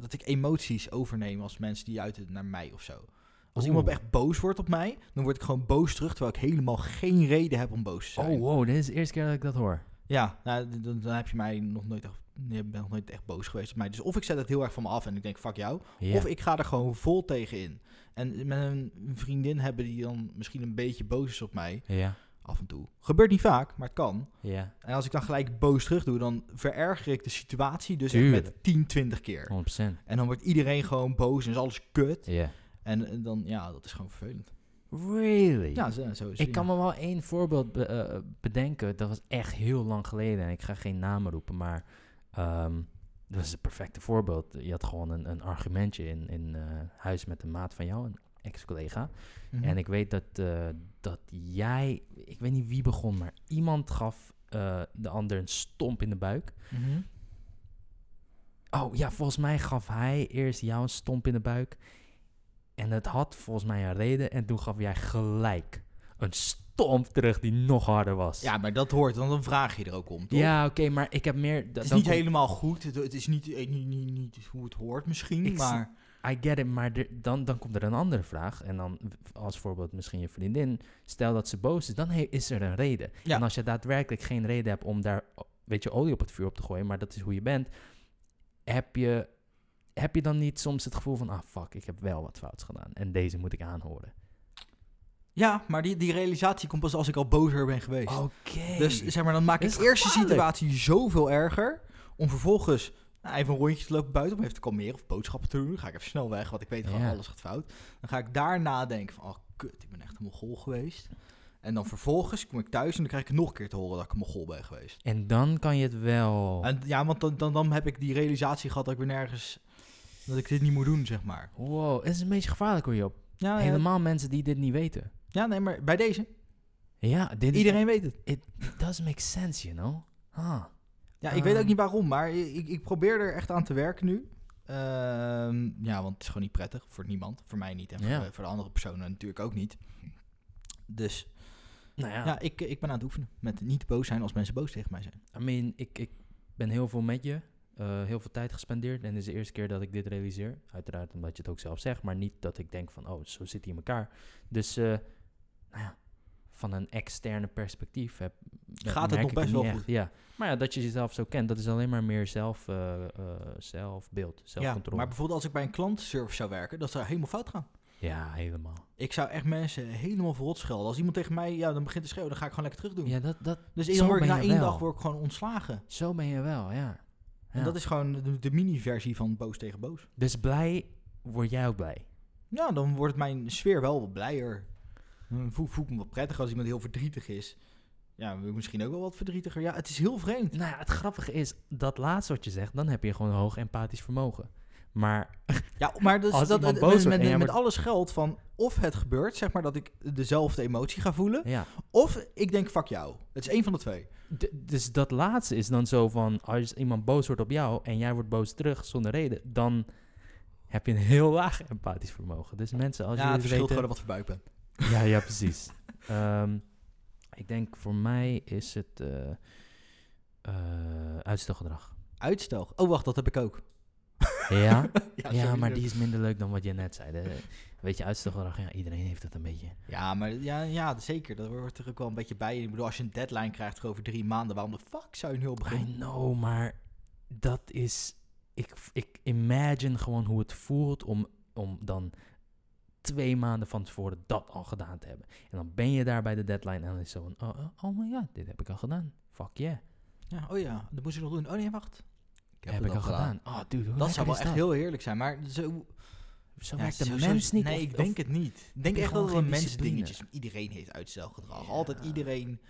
Speaker 1: dat ik emoties overneem als mensen die uiten naar mij of zo. Als
Speaker 2: Oeh.
Speaker 1: iemand echt boos wordt op mij, dan word ik gewoon boos terug, terwijl ik helemaal geen reden heb om boos te zijn.
Speaker 2: Oh, wow. Dit is de eerste keer dat ik dat hoor.
Speaker 1: Ja, nou, d- d- dan, heb je mij nog nooit echt nee, ik ben nog nooit echt boos geweest op mij. Dus of ik zet het heel erg van me af en ik denk, fuck jou.
Speaker 2: Ja.
Speaker 1: Of ik ga er gewoon vol tegen in. En met een vriendin hebben die dan misschien een beetje boos is op mij.
Speaker 2: ja,
Speaker 1: Af en toe. Gebeurt niet vaak, maar het kan.
Speaker 2: ja,
Speaker 1: En als ik dan gelijk boos terug doe, dan vererger ik de situatie dus echt
Speaker 2: Tuurlijk.
Speaker 1: met 10, 20 keer.
Speaker 2: 100%.
Speaker 1: En dan wordt iedereen gewoon boos en is alles kut.
Speaker 2: Ja.
Speaker 1: En eh, dan, ja, dat is gewoon vervelend.
Speaker 2: Really?
Speaker 1: Ja, zo, zo is het,
Speaker 2: Ik kan
Speaker 1: ja.
Speaker 2: me wel één voorbeeld be- eh, bedenken. Dat was echt heel lang geleden. En ik ga geen namen roepen, maar ehm, dat was het perfecte voorbeeld. Je had gewoon een, een argumentje in, in eh, huis met een maat van jou, een ex-collega.
Speaker 1: Mhm.
Speaker 2: En ik weet dat, eh, dat jij, ik weet niet wie begon, maar iemand gaf eh, de ander een stomp in de buik.
Speaker 1: Mhm.
Speaker 2: Oh ja, volgens mij gaf hij eerst jou een stomp in de buik. En het had volgens mij een reden. En toen gaf jij gelijk een stomp terug die nog harder was.
Speaker 1: Ja, maar dat hoort, want dan vraag je er ook om, toch?
Speaker 2: Ja, oké, maar ik heb meer... da-
Speaker 1: Het is
Speaker 2: dan
Speaker 1: niet
Speaker 2: kom-
Speaker 1: helemaal goed. Het, het is niet, eh, niet, niet, niet hoe het hoort misschien,
Speaker 2: Ik
Speaker 1: maar...
Speaker 2: I get it, maar er- dan, dan komt er een andere vraag. En dan, w- als voorbeeld misschien je vriendin, stel dat ze boos is, dan he- is er een reden.
Speaker 1: Ja.
Speaker 2: En als je daadwerkelijk geen reden hebt om daar, o- weet je, olie op het vuur op te gooien, maar dat is hoe je bent, heb je, heb je dan niet soms het gevoel van, ah fuck, ik heb wel wat fouts gedaan en deze moet ik aanhoren.
Speaker 1: Ja, maar die, die realisatie komt pas als ik al bozer ben geweest.
Speaker 2: Oké.
Speaker 1: Dus zeg maar, dan maak
Speaker 2: Dat
Speaker 1: ik
Speaker 2: is
Speaker 1: eerst de
Speaker 2: gevaarlijk.
Speaker 1: situatie zoveel erger. Om vervolgens nou, even een rondje te lopen buiten om even te kalmeren of boodschappen te doen. Dan ga ik even snel weg, want ik weet gewoon
Speaker 2: Ja.
Speaker 1: alles gaat fout. Dan ga ik daarna denken van, oh kut, ik ben echt een mogol geweest. En dan vervolgens kom ik thuis en dan krijg ik nog een keer te horen dat ik een mogol ben geweest.
Speaker 2: en dan kan je het wel...
Speaker 1: En ja, want dan, dan, dan heb ik die realisatie gehad dat ik weer nergens, dat ik dit niet moet doen, zeg maar.
Speaker 2: Wow, het is een beetje gevaarlijk hoor, Job.
Speaker 1: Oh, Ja, ja,
Speaker 2: Helemaal mensen die dit niet weten.
Speaker 1: ja nee, maar bij deze,
Speaker 2: Ja, dit is-
Speaker 1: iedereen weet het.
Speaker 2: it does make sense, you know? Huh.
Speaker 1: Ja, ik weet
Speaker 2: Ehm.
Speaker 1: ook niet waarom, maar ik, ik probeer er echt aan te werken nu. Ehm, ja, want het is gewoon niet prettig voor niemand. Voor mij niet en voor,
Speaker 2: Ja.
Speaker 1: de, voor de andere personen natuurlijk ook niet. Dus
Speaker 2: Nou
Speaker 1: ja, ik, ik ben aan het oefenen met niet boos zijn als mensen boos tegen mij zijn.
Speaker 2: I mean, ik, ik ben heel veel met je. eh, heel veel tijd gespendeerd. En dit is de eerste keer dat ik dit realiseer. Uiteraard omdat je het ook zelf zegt. Maar niet dat ik denk van, oh, zo zit hij in elkaar. Dus, eh, nou ja, van een externe perspectief heb,
Speaker 1: Gaat het
Speaker 2: merk
Speaker 1: nog
Speaker 2: ik
Speaker 1: best
Speaker 2: niet
Speaker 1: wel
Speaker 2: echt,
Speaker 1: goed.
Speaker 2: Ja, maar ja, dat je jezelf zo kent, dat is alleen maar meer zelf, eh, eh, zelfbeeld,
Speaker 1: Ja,
Speaker 2: zelfcontrole.
Speaker 1: maar bijvoorbeeld als ik bij een klantenservice zou werken, dat zou helemaal fout gaan.
Speaker 2: ja, helemaal.
Speaker 1: Ik zou echt mensen helemaal verrot schelden. Als iemand tegen mij ja, dan begint te schreeuwen, dan ga ik gewoon lekker terug doen.
Speaker 2: Ja, dat, dat,
Speaker 1: Dus
Speaker 2: Zo
Speaker 1: dan word ik
Speaker 2: ben
Speaker 1: na
Speaker 2: je
Speaker 1: één
Speaker 2: wel.
Speaker 1: dag word ik gewoon ontslagen.
Speaker 2: zo ben je wel, ja.
Speaker 1: En
Speaker 2: Ja.
Speaker 1: dat is gewoon de, de mini-versie van boos tegen boos.
Speaker 2: Dus blij, word jij ook blij?
Speaker 1: Ja, Nou, dan wordt mijn sfeer wel wat blijer. Dan voel, voel ik me wat prettiger als iemand heel verdrietig is. Ja, misschien ook wel wat verdrietiger. Ja, het is heel vreemd.
Speaker 2: Nou ja, het grappige is, dat laatste wat je zegt, dan heb je gewoon een hoog empathisch vermogen. Maar
Speaker 1: Ja, maar dat, is-
Speaker 2: Als
Speaker 1: dat,
Speaker 2: iemand
Speaker 1: dat-
Speaker 2: boos
Speaker 1: met,
Speaker 2: wordt
Speaker 1: met,
Speaker 2: en jij
Speaker 1: met
Speaker 2: wordt-
Speaker 1: alles geldt van of het gebeurt, zeg maar dat ik dezelfde emotie ga voelen,
Speaker 2: ja,
Speaker 1: of ik denk fuck jou. Het is één van de twee.
Speaker 2: D- dus dat laatste is dan zo van, als iemand boos wordt op jou en jij wordt boos terug zonder reden, dan heb je een heel *laughs* laag empathisch vermogen. Dus mensen, als
Speaker 1: ja, het
Speaker 2: jullie
Speaker 1: verschilt
Speaker 2: het weten...
Speaker 1: gewoon wat voor buik ben.
Speaker 2: Ja, ja, precies. *laughs* Ehm, ik denk voor mij is het eh, eh, uitstelgedrag.
Speaker 1: Uitstel. Oh, wacht, dat heb ik ook.
Speaker 2: Ja,
Speaker 1: *laughs* Ja,
Speaker 2: ja maar
Speaker 1: sowieso.
Speaker 2: die is minder leuk dan wat je net zei. De- weet je, uitstelgedrag, ja, iedereen heeft dat een beetje.
Speaker 1: Ja, maar ja, ja, zeker. Dat hoort er ook wel een beetje bij. Ik bedoel, als je een deadline krijgt voor over drie maanden, waarom de fuck zou je nu al
Speaker 2: I
Speaker 1: beginnen?
Speaker 2: know, maar dat is. Ik, ik imagine gewoon hoe het voelt om, om dan twee maanden van tevoren dat al gedaan te hebben. En dan ben je daar bij de deadline en dan is het zo van: oh, oh, oh my god, dit heb ik al gedaan. Fuck yeah.
Speaker 1: Ja, oh ja, dat moest ik nog doen. Oh nee, wacht. Ik
Speaker 2: heb ik al gedaan. Oh, dude, hoe
Speaker 1: Dat zou wel
Speaker 2: lekker
Speaker 1: echt
Speaker 2: is
Speaker 1: heel heerlijk zijn, maar zo,
Speaker 2: dat? Zo
Speaker 1: ja,
Speaker 2: werkt de
Speaker 1: zo- zo-
Speaker 2: mens niet.
Speaker 1: Nee,
Speaker 2: of-
Speaker 1: ik
Speaker 2: of-
Speaker 1: denk het niet. Ik denk
Speaker 2: je
Speaker 1: echt
Speaker 2: gewoon
Speaker 1: dat het een
Speaker 2: geen
Speaker 1: mensendingetje is.
Speaker 2: discipline?
Speaker 1: Iedereen heeft uitstelgedrag.
Speaker 2: Ja.
Speaker 1: Altijd iedereen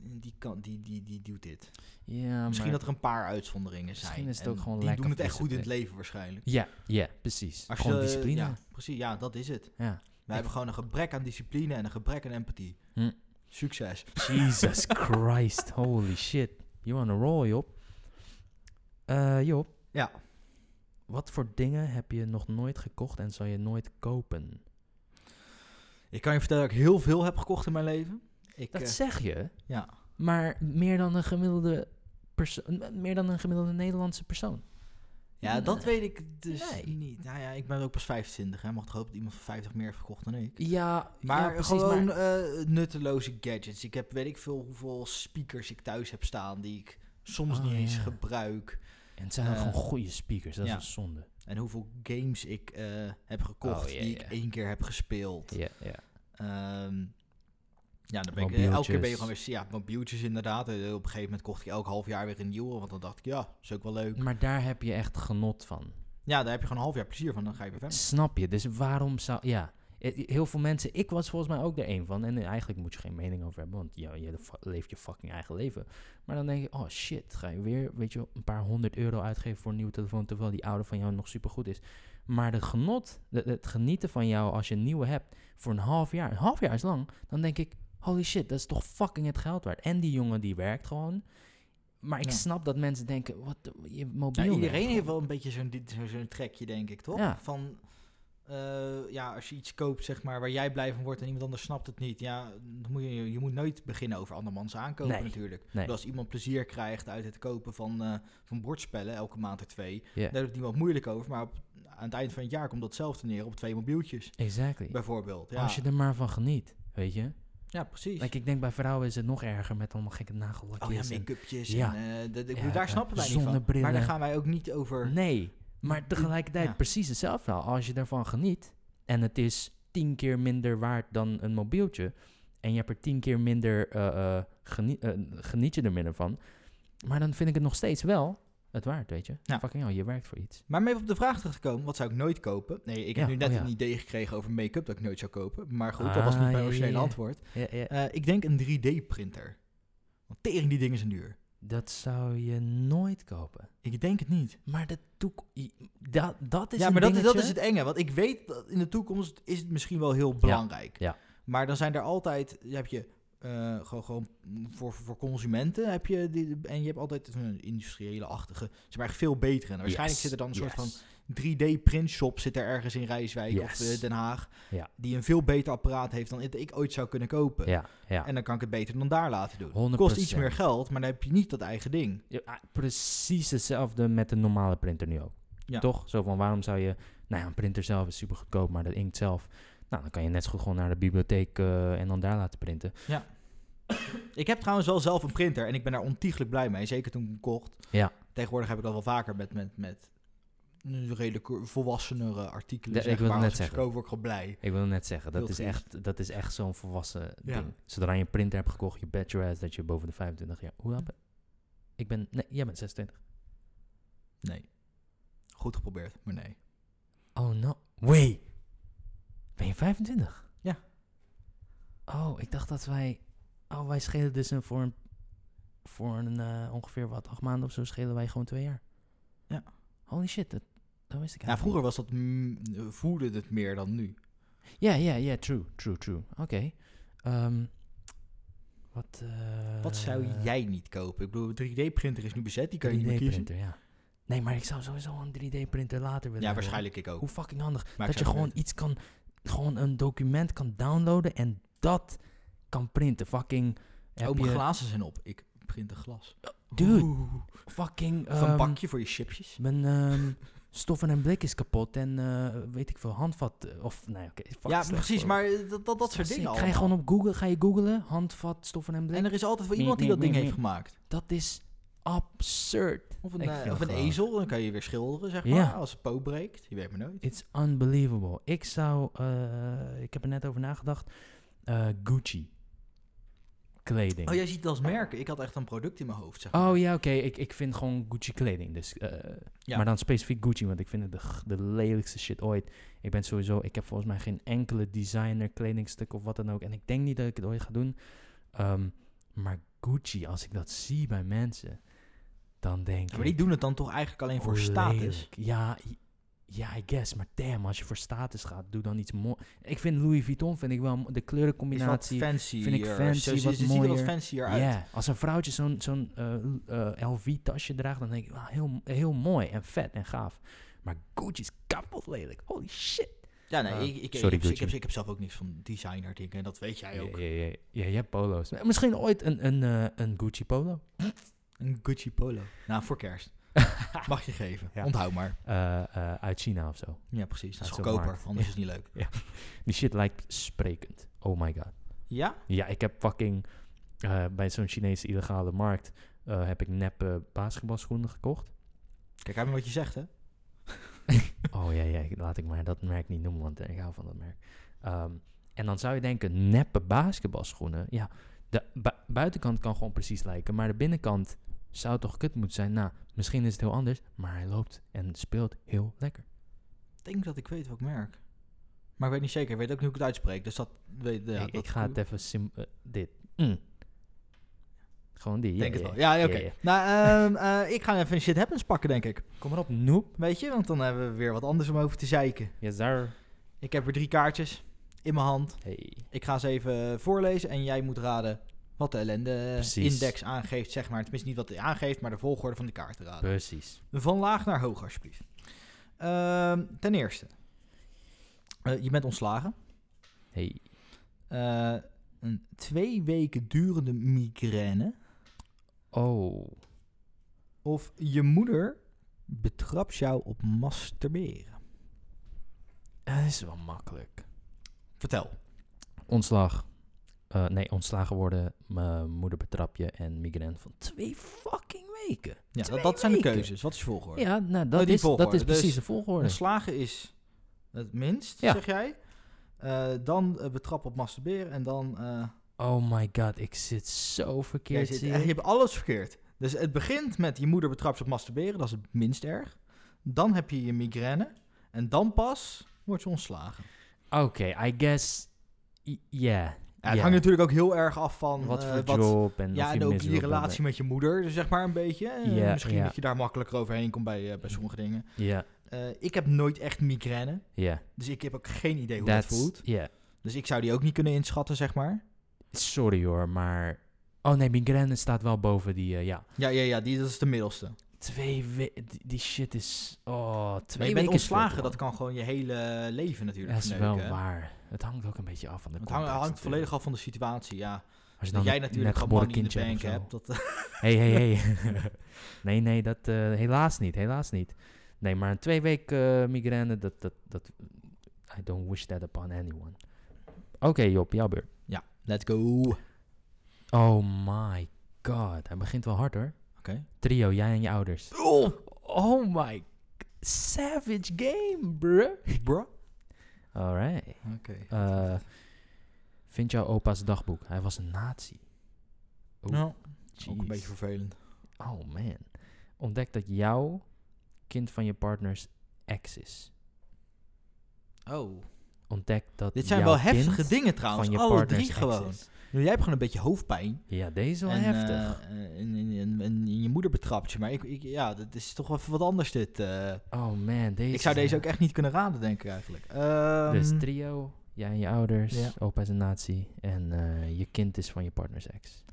Speaker 1: die, kan, die, die, die doet dit.
Speaker 2: ja,
Speaker 1: misschien
Speaker 2: maar-
Speaker 1: dat er een paar uitzonderingen zijn.
Speaker 2: Misschien is het ook
Speaker 1: en
Speaker 2: gewoon
Speaker 1: die
Speaker 2: lack
Speaker 1: doen
Speaker 2: of
Speaker 1: het echt goed in het leven waarschijnlijk.
Speaker 2: Ja, ja, precies.
Speaker 1: Als je-
Speaker 2: gewoon discipline.
Speaker 1: Ja, precies, ja, dat is het.
Speaker 2: ja.
Speaker 1: We hebben gewoon een gebrek aan discipline en een gebrek aan empathie.
Speaker 2: Hm.
Speaker 1: Succes.
Speaker 2: Jesus Christ, holy shit. You on a roll, Job. Eh, Job,
Speaker 1: Ja.
Speaker 2: wat voor dingen heb je nog nooit gekocht en zal je nooit kopen?
Speaker 1: Ik kan je vertellen dat ik heel veel heb gekocht in mijn leven. Ik,
Speaker 2: Dat
Speaker 1: eh,
Speaker 2: zeg je,
Speaker 1: ja.
Speaker 2: maar meer dan een gemiddelde persoon, meer dan een gemiddelde Nederlandse persoon.
Speaker 1: Ja, dat weet ik dus
Speaker 2: Nee.
Speaker 1: niet. Nou ja, ik ben ook pas 25. Hè. Mag toch hopen dat iemand van 50 meer heeft verkocht dan ik.
Speaker 2: Ja,
Speaker 1: Maar
Speaker 2: ja, precies,
Speaker 1: gewoon
Speaker 2: maar-
Speaker 1: eh, nutteloze gadgets. Ik heb weet ik veel hoeveel speakers ik thuis heb staan die ik soms
Speaker 2: Oh,
Speaker 1: niet eens
Speaker 2: ja.
Speaker 1: gebruik.
Speaker 2: En het zijn
Speaker 1: Eh,
Speaker 2: gewoon goede speakers, dat
Speaker 1: ja.
Speaker 2: is een zonde.
Speaker 1: En hoeveel games ik eh, heb gekocht
Speaker 2: Oh, ja,
Speaker 1: die ik
Speaker 2: ja.
Speaker 1: één keer heb gespeeld.
Speaker 2: Ja, ja.
Speaker 1: Ehm, ja, dan ben ik, eh, elke keer ben je
Speaker 2: Mobieltjes.
Speaker 1: gewoon weer... Ja, mobieltjes inderdaad. Eh, Op een gegeven moment kocht ik elk half jaar weer een nieuwe. Want dan dacht ik, ja, is ook wel leuk.
Speaker 2: Maar daar heb je echt genot van.
Speaker 1: Ja, daar heb je gewoon een half jaar plezier van. Dan ga je weer verder.
Speaker 2: Snap je? Dus waarom zou... Ja, Eh, heel veel mensen... Ik was volgens mij ook er één van. En eh, eigenlijk moet je geen mening over hebben, want ja, je fa- leeft je fucking eigen leven. Maar dan denk je, oh shit, ga je weer, weet je, wel, een paar honderd euro uitgeven voor een nieuwe telefoon, terwijl die oude van jou nog supergoed is. Maar de genot, de- het genieten van jou als je een nieuwe hebt voor een half jaar, een half jaar is lang, dan denk ik, holy shit, dat is toch fucking het geld waard. En die jongen die werkt gewoon. Maar ik
Speaker 1: Ja.
Speaker 2: snap dat mensen denken, wat, je mobiel
Speaker 1: Ja,
Speaker 2: werkt
Speaker 1: iedereen heeft
Speaker 2: gewoon.
Speaker 1: wel een beetje zo'n dit- zo- zo'n trekje, denk ik, toch?
Speaker 2: Ja.
Speaker 1: Van, eh, ja, als je iets koopt, zeg maar, waar jij blij van wordt en iemand anders snapt het niet. Ja, dan moet je, je moet nooit beginnen over andermans aankopen
Speaker 2: Nee,
Speaker 1: natuurlijk.
Speaker 2: nee.
Speaker 1: Dus als iemand plezier krijgt uit het kopen van, eh, van bordspellen, elke maand er twee,
Speaker 2: Ja.
Speaker 1: daar doet niemand moeilijk over. Maar op, aan het eind van het jaar komt datzelfde neer op twee mobieltjes,
Speaker 2: Exactly.
Speaker 1: bijvoorbeeld. Ja,
Speaker 2: Als je er maar van geniet, weet je.
Speaker 1: ja precies.
Speaker 2: Like, ik denk bij vrouwen is het nog erger met allemaal gekke nagellakjes.
Speaker 1: Oh ja,
Speaker 2: en-
Speaker 1: make-upjes.
Speaker 2: Ja.
Speaker 1: En, eh, dat- ik bedoel,
Speaker 2: Ja,
Speaker 1: daar
Speaker 2: eh,
Speaker 1: snappen wij niet van. Maar daar
Speaker 2: zonnebrillen.
Speaker 1: gaan wij ook niet over.
Speaker 2: Nee, maar tegelijkertijd
Speaker 1: Ja.
Speaker 2: precies hetzelfde verhaal. Als je ervan geniet en het is tien keer minder waard dan een mobieltje... en je hebt er tien keer minder... eh, eh, genie- eh, geniet je er minder van... maar dan vind ik het nog steeds wel het waard, weet je.
Speaker 1: Ja.
Speaker 2: Fucking hell, je werkt voor iets.
Speaker 1: Maar om even op de vraag terug te komen, wat zou ik nooit kopen? Nee, ik heb
Speaker 2: Ja,
Speaker 1: nu net
Speaker 2: oh ja.
Speaker 1: een idee gekregen over make-up dat ik nooit zou kopen. Maar goed, dat was niet
Speaker 2: Ah,
Speaker 1: mijn
Speaker 2: ja,
Speaker 1: originele
Speaker 2: ja, ja.
Speaker 1: antwoord.
Speaker 2: Ja, ja.
Speaker 1: Eh, ik denk een 3D-printer. Want tering, die dingen zijn duur.
Speaker 2: Dat zou je nooit kopen.
Speaker 1: Ik denk het niet.
Speaker 2: Maar dat, doe ik- dat, dat is
Speaker 1: ja,
Speaker 2: een
Speaker 1: maar dat, dat is
Speaker 2: dingetje.
Speaker 1: het enge. Want ik weet dat in de toekomst is het misschien wel heel belangrijk.
Speaker 2: ja.
Speaker 1: Maar dan zijn er altijd, je heb je eh, gewoon, gewoon voor, voor consumenten heb je die, en je hebt altijd een industriële achtige, zeg maar echt veel betere. En Nou, waarschijnlijk
Speaker 2: Yes,
Speaker 1: zit er dan een soort van
Speaker 2: yes.
Speaker 1: 3D-printshop zit er ergens in Rijswijk of
Speaker 2: Yes.
Speaker 1: eh, Den Haag.
Speaker 2: Ja.
Speaker 1: Die een veel beter apparaat heeft dan ik- ik ooit zou kunnen kopen.
Speaker 2: Ja, ja.
Speaker 1: En dan kan ik het beter dan daar laten doen.
Speaker 2: 100%.
Speaker 1: Kost iets meer geld, maar dan heb je niet dat eigen ding.
Speaker 2: Ja, ah, precies hetzelfde met de normale printer nu ook.
Speaker 1: Ja.
Speaker 2: Toch? Zo van waarom zou je. Nou ja, een printer zelf is super goedkoop, maar dat inkt zelf. Nou, dan kan je net zo goed gewoon naar de bibliotheek eh, en dan daar laten printen.
Speaker 1: Ik heb trouwens wel zelf een printer en ik ben daar ontiegelijk blij mee. Zeker toen ik hem kocht.
Speaker 2: Ja.
Speaker 1: Tegenwoordig heb ik dat wel vaker met, met, met een redelijk volwassenere artikelen.
Speaker 2: Ja,
Speaker 1: zeg
Speaker 2: ik wilde
Speaker 1: maar.
Speaker 2: net
Speaker 1: Als ik ze
Speaker 2: zeggen.
Speaker 1: koop, word ik gewoon blij.
Speaker 2: Ik wil net zeggen, dat
Speaker 1: Heel
Speaker 2: is
Speaker 1: triest.
Speaker 2: echt, dat is echt zo'n volwassen
Speaker 1: Ja.
Speaker 2: ding. Zodra je een printer hebt gekocht, je bet your ass dat je boven de 25 jaar. Hoe oud ben ik? ben. Nee, jij bent 26.
Speaker 1: Nee. Goed geprobeerd, maar nee.
Speaker 2: Oh no. Wait. Ben je 25?
Speaker 1: Ja.
Speaker 2: Oh, ik dacht dat wij. Oh, wij schelen dus een, voor, een, voor een, eh, ongeveer wat, acht maanden of zo schelen wij gewoon twee jaar.
Speaker 1: Ja.
Speaker 2: Holy shit, dat, dat wist ik
Speaker 1: Ja,
Speaker 2: eigenlijk
Speaker 1: vroeger was dat, mm, voelde het meer dan nu.
Speaker 2: niet. Ja, ja, ja, true, true, true. Oké. Ehm, wat. eh,
Speaker 1: Wat zou jij niet kopen? Ik bedoel, 3D-printer is nu bezet, die kan je niet meer
Speaker 2: 3D
Speaker 1: kiezen.
Speaker 2: printer, ja. Nee, maar ik zou sowieso een 3D-printer later willen
Speaker 1: Ja,
Speaker 2: hebben, hoor.
Speaker 1: waarschijnlijk ik ook.
Speaker 2: Hoe fucking handig.
Speaker 1: Maar ik
Speaker 2: dat
Speaker 1: zou
Speaker 2: je
Speaker 1: het
Speaker 2: gewoon iets kan, gewoon een document kan downloaden en dat kan printen. Fucking, heb
Speaker 1: Oh, mijn
Speaker 2: je
Speaker 1: glazen zijn op. Ik print een glas.
Speaker 2: Dude.
Speaker 1: Oeh.
Speaker 2: fucking,
Speaker 1: Of een
Speaker 2: ehm,
Speaker 1: bakje voor je chipjes.
Speaker 2: mijn ehm, stoffen en blik is kapot en eh, weet ik veel, handvat, eh, of nee, oké. fuck,
Speaker 1: Ja,
Speaker 2: slecht
Speaker 1: precies,
Speaker 2: voorbeeld.
Speaker 1: maar eh, dat, dat, dat soort dingen
Speaker 2: Ga je
Speaker 1: allemaal.
Speaker 2: gewoon op Google, ga je googlen, handvat, stoffen en blik.
Speaker 1: En er is altijd wel
Speaker 2: Nee,
Speaker 1: iemand die
Speaker 2: nee,
Speaker 1: dat ding
Speaker 2: nee,
Speaker 1: heeft gemaakt.
Speaker 2: dat is absurd.
Speaker 1: Of een,
Speaker 2: Ik
Speaker 1: eh,
Speaker 2: vind
Speaker 1: of
Speaker 2: het
Speaker 1: een
Speaker 2: wel-
Speaker 1: ezel, dan kan je weer schilderen, zeg maar.
Speaker 2: Ja.
Speaker 1: Als een poot breekt, je weet maar nooit.
Speaker 2: It's unbelievable. Ik zou, eh, ik heb er net over nagedacht, eh, Gucci. Kleding.
Speaker 1: Oh, jij ziet het als merken. Ik had echt een product in mijn hoofd, zeg maar.
Speaker 2: Oh ja, oké. Ik, ik vind gewoon Gucci kleding. Dus, eh,
Speaker 1: Ja.
Speaker 2: Maar dan specifiek Gucci, want ik vind het de, g- de lelijkste shit ooit. Ik ben sowieso, ik heb volgens mij geen enkele designer kledingstuk of wat dan ook. En ik denk niet dat ik het ooit ga doen. Ehm, maar Gucci, als ik dat zie bij mensen, dan denk
Speaker 1: Ja,
Speaker 2: ik...
Speaker 1: maar die doen het dan toch eigenlijk alleen voor
Speaker 2: hoe
Speaker 1: status.
Speaker 2: lelijk. Ja, i- ja, I guess. Maar damn, als je voor status gaat, doe dan iets moois. Ik vind Louis Vuitton, vind ik wel, mo- de
Speaker 1: Is wat
Speaker 2: kleurencombinatie.
Speaker 1: fancy.
Speaker 2: vind ik fancy, wat
Speaker 1: ziet er wat
Speaker 2: mooier.
Speaker 1: fancier
Speaker 2: Ja,
Speaker 1: uit.
Speaker 2: als een vrouwtje zo'n zo'n eh, eh, LV-tasje draagt, dan denk ik, "Wauw, heel, heel mooi en vet en gaaf. Maar Gucci is kapot lelijk. Holy shit.
Speaker 1: Ja, nee,
Speaker 2: Ah.
Speaker 1: ik, ik, ik,
Speaker 2: Sorry,
Speaker 1: heb, ik,
Speaker 2: Gucci.
Speaker 1: heb, ik heb zelf ook niks van designer dingen. En dat weet jij ook.
Speaker 2: Ja, ja, ja, ja, je hebt polo's. Maar Misschien ooit een, een, eh, een Gucci polo.
Speaker 1: Een Gucci polo. Nou, voor kerst. Mag je geven.
Speaker 2: Ja.
Speaker 1: Onthoud maar.
Speaker 2: Eh, eh, uit China of zo.
Speaker 1: Ja, precies. Dat is
Speaker 2: Uit zo'n
Speaker 1: goedkoper.
Speaker 2: markt.
Speaker 1: Anders
Speaker 2: Ja.
Speaker 1: is het niet leuk.
Speaker 2: Die shit lijkt sprekend. Oh my god.
Speaker 1: Ja?
Speaker 2: Ja, ik heb fucking eh, bij zo'n Chinese illegale markt eh, heb ik neppe basketbalschoenen gekocht.
Speaker 1: Kijk uit met wat je zegt, hè?
Speaker 2: Oh ja, ja, ik- laat ik maar dat merk niet noemen, want eh, ik hou van dat merk. Ehm, en dan zou je denken, neppe basketbalschoenen. Ja, de bu- buitenkant kan gewoon precies lijken, maar de binnenkant zou toch kut moeten zijn. Nou, misschien is het heel anders, maar hij loopt en speelt heel lekker.
Speaker 1: Ik denk dat ik weet welk merk. Maar ik weet niet zeker. Ik weet ook niet hoe ik het uitspreek. Dus dat weet ja,
Speaker 2: ik,
Speaker 1: dat-
Speaker 2: ik ga het even sim... eh, dit. Mm. Gewoon die.
Speaker 1: Ik
Speaker 2: ja,
Speaker 1: denk
Speaker 2: ja,
Speaker 1: het wel. Ja,
Speaker 2: ja,
Speaker 1: oké.
Speaker 2: ja.
Speaker 1: Nou, ehm, eh, ik ga even een shit happens pakken, denk ik.
Speaker 2: Kom maar op, noep.
Speaker 1: Weet je, want dan hebben we weer wat anders om over te zeiken.
Speaker 2: Yes, sir.
Speaker 1: Ik heb er drie kaartjes in mijn hand.
Speaker 2: Hey.
Speaker 1: Ik ga ze even voorlezen en jij moet raden wat de
Speaker 2: Precies.
Speaker 1: ellende-index aangeeft, zeg maar. Tenminste, niet wat hij aangeeft, maar de volgorde van de kaarten raden.
Speaker 2: Precies.
Speaker 1: Van laag naar hoog, alsjeblieft. Ehm, ten eerste, eh, je bent ontslagen.
Speaker 2: Hey.
Speaker 1: Eh, een twee weken durende migraine.
Speaker 2: Oh.
Speaker 1: Of je moeder betrapt jou op masturberen.
Speaker 2: Dat is wel makkelijk.
Speaker 1: Vertel.
Speaker 2: Ontslag. Eh, nee, ontslagen worden. Mijn moeder betrap je en migraine van twee fucking weken.
Speaker 1: Ja, dat,
Speaker 2: Twee
Speaker 1: dat zijn de
Speaker 2: weken.
Speaker 1: keuzes. Wat is je volgorde?
Speaker 2: Ja, nou,
Speaker 1: Oh,
Speaker 2: dat,
Speaker 1: die
Speaker 2: is, dat
Speaker 1: volgorde.
Speaker 2: is precies
Speaker 1: Dus
Speaker 2: de volgorde.
Speaker 1: Ontslagen is het minst,
Speaker 2: Ja.
Speaker 1: zeg jij. Eh, dan eh, betrap op masturberen en dan... eh,
Speaker 2: Oh my god, ik zit zo
Speaker 1: Jij
Speaker 2: verkeerd.
Speaker 1: zit-
Speaker 2: zie
Speaker 1: eh,
Speaker 2: je?
Speaker 1: *laughs* je hebt alles verkeerd. Dus het begint met je moeder betrapt je op masturberen, dat is het minst erg. Dan heb je je migraine en dan pas word je ontslagen.
Speaker 2: Oké, I guess. I- Yeah.
Speaker 1: Ja, het
Speaker 2: Ja.
Speaker 1: hangt natuurlijk ook heel erg af van
Speaker 2: Wat
Speaker 1: eh,
Speaker 2: voor job en of
Speaker 1: ja,
Speaker 2: je
Speaker 1: en ook je
Speaker 2: miserabel
Speaker 1: relatie met je moeder, dus zeg maar een beetje. Eh,
Speaker 2: Ja,
Speaker 1: Misschien
Speaker 2: ja.
Speaker 1: dat je daar makkelijker overheen komt bij, eh, bij sommige dingen.
Speaker 2: bent. Ja,
Speaker 1: Eh, ik heb nooit echt migraine,
Speaker 2: ja.
Speaker 1: dus ik heb ook geen idee hoe
Speaker 2: That's-
Speaker 1: dat voelt.
Speaker 2: Ja.
Speaker 1: Dus ik zou die ook niet kunnen inschatten, zeg maar.
Speaker 2: Sorry hoor, maar. Oh nee, migraine staat wel boven die. eh, ja.
Speaker 1: Ja, ja, ja die, dat is de middelste.
Speaker 2: Twee weken. Die shit is. Oh, twee
Speaker 1: Maar je bent
Speaker 2: weken is veel te
Speaker 1: ontslagen,
Speaker 2: lang.
Speaker 1: dat kan gewoon je hele leven natuurlijk
Speaker 2: Dat is
Speaker 1: verneuken,
Speaker 2: wel
Speaker 1: hè.
Speaker 2: waar. Het hangt ook een beetje af van de
Speaker 1: Het hangt,
Speaker 2: context
Speaker 1: hangt
Speaker 2: natuurlijk.
Speaker 1: volledig af van de situatie, ja.
Speaker 2: Als
Speaker 1: Dat
Speaker 2: je dan
Speaker 1: jij
Speaker 2: een
Speaker 1: natuurlijk gewoon
Speaker 2: netgeboren
Speaker 1: money in de bank hebt.
Speaker 2: kindje of zo.
Speaker 1: Dat, *laughs*
Speaker 2: Hey, hey, hey. nee, nee, dat eh, helaas niet, helaas niet. Nee, maar een twee weken eh, migraine, dat, dat, dat... I don't wish that upon anyone. Oké, Job, jouw beurt.
Speaker 1: ja, let's go. Oké.
Speaker 2: Oh my god, hij begint wel hard hoor. Trio, jij en je ouders.
Speaker 1: Oh,
Speaker 2: Oh my... g- Savage game, bruh.
Speaker 1: bro.
Speaker 2: Alright.
Speaker 1: Oké.
Speaker 2: Eh, vind jouw opa's dagboek. Hij was een nazi. Oeh,
Speaker 1: Nou, ook een
Speaker 2: Oh, jeez.
Speaker 1: beetje vervelend.
Speaker 2: Oh man. Ontdek dat jouw kind van je partners ex is.
Speaker 1: Oh.
Speaker 2: Ontdek dat
Speaker 1: Dit zijn
Speaker 2: jouw
Speaker 1: wel
Speaker 2: kind
Speaker 1: heftige dingen trouwens,
Speaker 2: van je
Speaker 1: alle
Speaker 2: partners
Speaker 1: drie
Speaker 2: ex
Speaker 1: gewoon.
Speaker 2: is.
Speaker 1: Nu, jij hebt gewoon een beetje hoofdpijn.
Speaker 2: Ja, deze is wel
Speaker 1: en, eh,
Speaker 2: heftig.
Speaker 1: en, en, en- en je moeder betrapt je, maar ik, ik, ja, dat is toch wel even wat anders dit. eh.
Speaker 2: Oh man, deze.
Speaker 1: ik zou
Speaker 2: is
Speaker 1: deze ook
Speaker 2: hef-
Speaker 1: echt niet kunnen raden, denk ik eigenlijk. Ehm,
Speaker 2: Dus trio, jij en je ouders,
Speaker 1: Ja.
Speaker 2: opa is een nazi en eh, je kind is van je partners ex.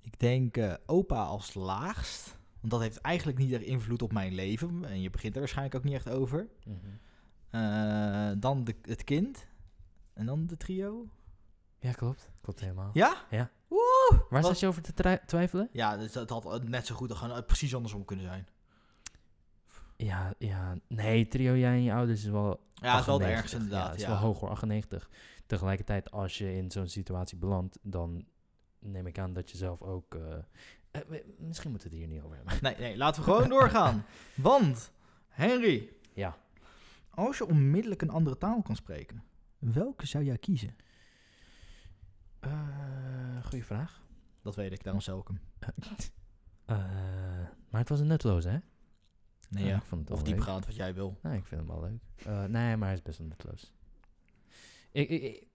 Speaker 1: Ik denk eh, opa als laagst. Want dat heeft eigenlijk niet echt invloed op mijn leven. En je begint er waarschijnlijk ook niet echt over. Eh, dan de, het kind. En dan de trio.
Speaker 2: Ja, klopt. Klopt helemaal.
Speaker 1: Ja?
Speaker 2: Ja.
Speaker 1: Woe!
Speaker 2: Waar
Speaker 1: Wat-
Speaker 2: zat je over te tri- twijfelen?
Speaker 1: Ja, dus dat had eh, net zo goed gewoon eh, precies andersom kunnen zijn.
Speaker 2: Ja, ja. Nee, trio, jij en je ouders is wel
Speaker 1: Ja, het is wel het
Speaker 2: 98,
Speaker 1: ergste inderdaad.
Speaker 2: Ja,
Speaker 1: Ja,
Speaker 2: het is wel hoog hoor, 98. Tegelijkertijd, als je in zo'n situatie belandt, dan neem ik aan dat je zelf ook... eh, eh, we- misschien moeten we het hier niet over hebben.
Speaker 1: Nee, nee, laten we
Speaker 2: *laughs*
Speaker 1: gewoon doorgaan. Want, Henry,
Speaker 2: ja.
Speaker 1: als je onmiddellijk een andere taal kan spreken, welke zou jij kiezen?
Speaker 2: Eh goeie vraag.
Speaker 1: Dat weet ik, daarom zou ik hem.
Speaker 2: Eh, maar het was een nutteloze, hè?
Speaker 1: Nee,
Speaker 2: Eh,
Speaker 1: ja.
Speaker 2: Ik vond het
Speaker 1: Of
Speaker 2: wel leuk.
Speaker 1: diepgaand, wat jij wil.
Speaker 2: Nou, ik vind hem wel leuk. Eh, nee, maar hij is best wel nutteloos. Ik, ik, ik,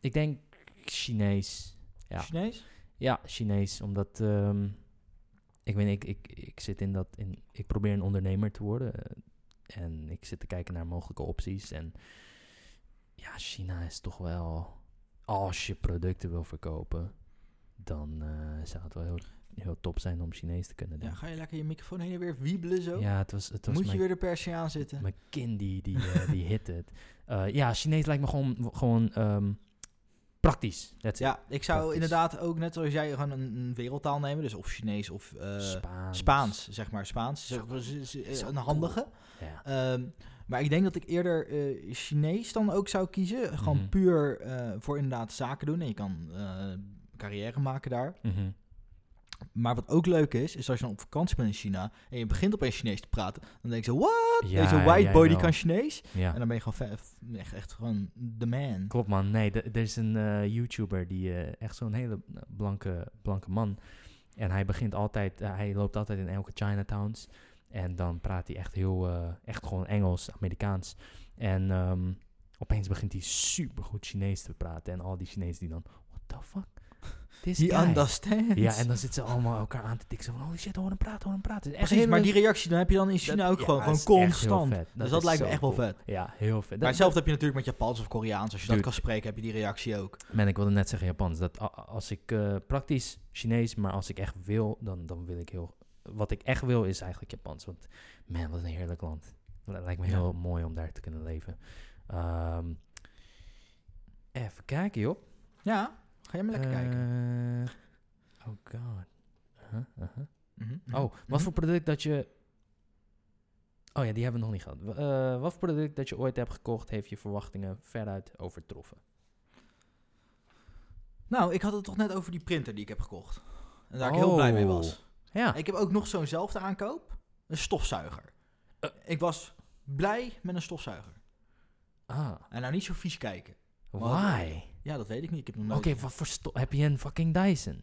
Speaker 2: ik denk Chinees. Ja.
Speaker 1: Chinees?
Speaker 2: Ja, Chinees, omdat ehm, ik weet niet, ik, ik, ik zit in dat, in, ik probeer een ondernemer te worden eh, en ik zit te kijken naar mogelijke opties en ja, China is toch wel, als je producten wil verkopen, dan eh, zou het wel heel, heel top zijn om Chinees te kunnen
Speaker 1: Ja,
Speaker 2: doen.
Speaker 1: ga je lekker je microfoon heen en weer wiebelen zo?
Speaker 2: Ja, het was, het was
Speaker 1: Moet je
Speaker 2: mijn,
Speaker 1: weer de persje aanzitten?
Speaker 2: mijn kind die, die, eh,
Speaker 1: *laughs*
Speaker 2: die hit het. Eh, ja, Chinees lijkt me gewoon, gewoon ehm, praktisch. That's it.
Speaker 1: Ja, ik zou
Speaker 2: Praktisch.
Speaker 1: inderdaad ook net zoals jij gewoon een, een wereldtaal nemen. Dus of Chinees of eh,
Speaker 2: Spaans.
Speaker 1: Spaans, zeg maar. Spaans is
Speaker 2: Zo
Speaker 1: ook- is- is- is
Speaker 2: zo
Speaker 1: een handige.
Speaker 2: Ja.
Speaker 1: Ehm, maar ik denk dat ik eerder eh, Chinees dan ook zou kiezen. Gewoon
Speaker 2: Mhm.
Speaker 1: puur eh, voor inderdaad zaken doen. En je kan eh, carrière maken daar.
Speaker 2: Mhm.
Speaker 1: Maar wat ook leuk is, is als je dan op vakantie bent in China en je begint opeens Chinees te praten, dan denk je, what?
Speaker 2: Ja,
Speaker 1: Deze
Speaker 2: jij
Speaker 1: white boy die
Speaker 2: wel.
Speaker 1: kan Chinees?
Speaker 2: Ja.
Speaker 1: En dan ben je gewoon ve- echt, echt gewoon de man.
Speaker 2: Klopt man, nee, d- er is een eh, YouTuber die eh, echt zo'n hele blanke, blanke man. En hij begint altijd, eh, hij loopt altijd in elke Chinatowns. En dan praat hij echt heel, eh, echt gewoon Engels, Amerikaans. En ehm, opeens begint hij supergoed Chinees te praten. En al die Chinezen die dan, what the fuck? This
Speaker 1: Die
Speaker 2: guy."
Speaker 1: understands.
Speaker 2: Ja, en dan zitten ze allemaal elkaar aan te tikken. Zo van, holy shit, hoor hem praten, hoor hem praten. Het is echt
Speaker 1: Precies,
Speaker 2: hele-
Speaker 1: maar die reactie dan heb je dan in China
Speaker 2: Dat-
Speaker 1: ook
Speaker 2: ja,
Speaker 1: gewoon,
Speaker 2: dat
Speaker 1: gewoon
Speaker 2: is echt heel
Speaker 1: constant.
Speaker 2: vet.
Speaker 1: dus dat
Speaker 2: is
Speaker 1: lijkt me
Speaker 2: zo
Speaker 1: echt wel
Speaker 2: cool.
Speaker 1: vet.
Speaker 2: Ja, heel vet.
Speaker 1: Maar
Speaker 2: Dat-
Speaker 1: hetzelfde heb je natuurlijk met Japans of Koreaans. Als je dat
Speaker 2: Dude.
Speaker 1: kan spreken, heb je die reactie ook.
Speaker 2: Man, ik wilde net zeggen Japans. Dat a- a- als ik eh, praktisch Chinees, maar als ik echt wil, dan, dan wil ik heel. Wat ik echt wil is eigenlijk Japans. Want man, wat een heerlijk land. L- Lijkt me
Speaker 1: Ja.
Speaker 2: heel mooi om daar te kunnen leven. Ehm, even kijken, joh.
Speaker 1: Ja, ga je maar lekker kijken.
Speaker 2: Eh, oh god. Huh, uh-huh.
Speaker 1: Mhm, mhm,
Speaker 2: Oh,
Speaker 1: mhm.
Speaker 2: wat voor product dat je. Oh ja, die hebben we nog niet gehad. W- eh, wat voor product dat je ooit hebt gekocht, heeft je verwachtingen veruit overtroffen?
Speaker 1: Nou, ik had het toch net over die printer die ik heb gekocht. En daar ik heel blij mee was.
Speaker 2: Oh. Ja.
Speaker 1: Ik heb ook nog zo'nzelfde aankoop. Een stofzuiger.
Speaker 2: Eh.
Speaker 1: Ik was blij met een stofzuiger.
Speaker 2: Ah,
Speaker 1: En nou niet zo vies kijken. Wat-
Speaker 2: why?
Speaker 1: Ja, dat weet ik niet. Ik heb nog
Speaker 2: Oké,
Speaker 1: nooit...
Speaker 2: wat voor sto- Heb je een fucking Dyson?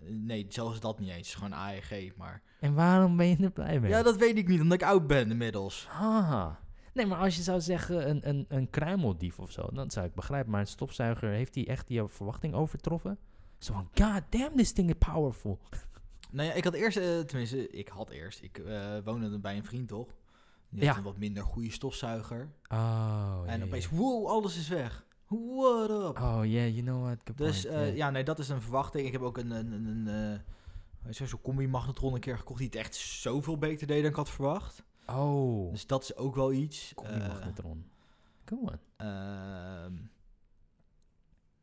Speaker 1: Nee, zelfs dat niet eens. Gewoon AEG, maar...
Speaker 2: En waarom ben je er blij mee?
Speaker 1: Ja, dat weet ik niet, omdat ik oud ben inmiddels.
Speaker 2: Ah. Nee, maar als je zou zeggen een, een, een kruimeldief of zo, dan zou ik begrijpen. Maar een stofzuiger, heeft die echt je verwachting overtroffen? Zo van, god damn, this thing is powerful.
Speaker 1: Nou ja, ik had eerst... eh, tenminste, ik had eerst. Ik eh, woonde bij een vriend, toch? Die
Speaker 2: Ja.
Speaker 1: had een wat minder goede stofzuiger.
Speaker 2: Oh,
Speaker 1: en
Speaker 2: ja,
Speaker 1: opeens,
Speaker 2: ja.
Speaker 1: wow, alles is weg. What up?
Speaker 2: Oh, yeah, you know what, good
Speaker 1: Dus
Speaker 2: point,
Speaker 1: eh,
Speaker 2: yeah.
Speaker 1: ja, nee, dat is een verwachting. Ik heb ook een, een, een, een eh, hoe heet zo'n- zo'n combi-magnetron een keer gekocht die het echt zoveel beter deed dan ik had verwacht.
Speaker 2: Oh,
Speaker 1: Dus dat is ook wel iets.
Speaker 2: kom die
Speaker 1: Eh,
Speaker 2: magnetron. Come on.
Speaker 1: ehm,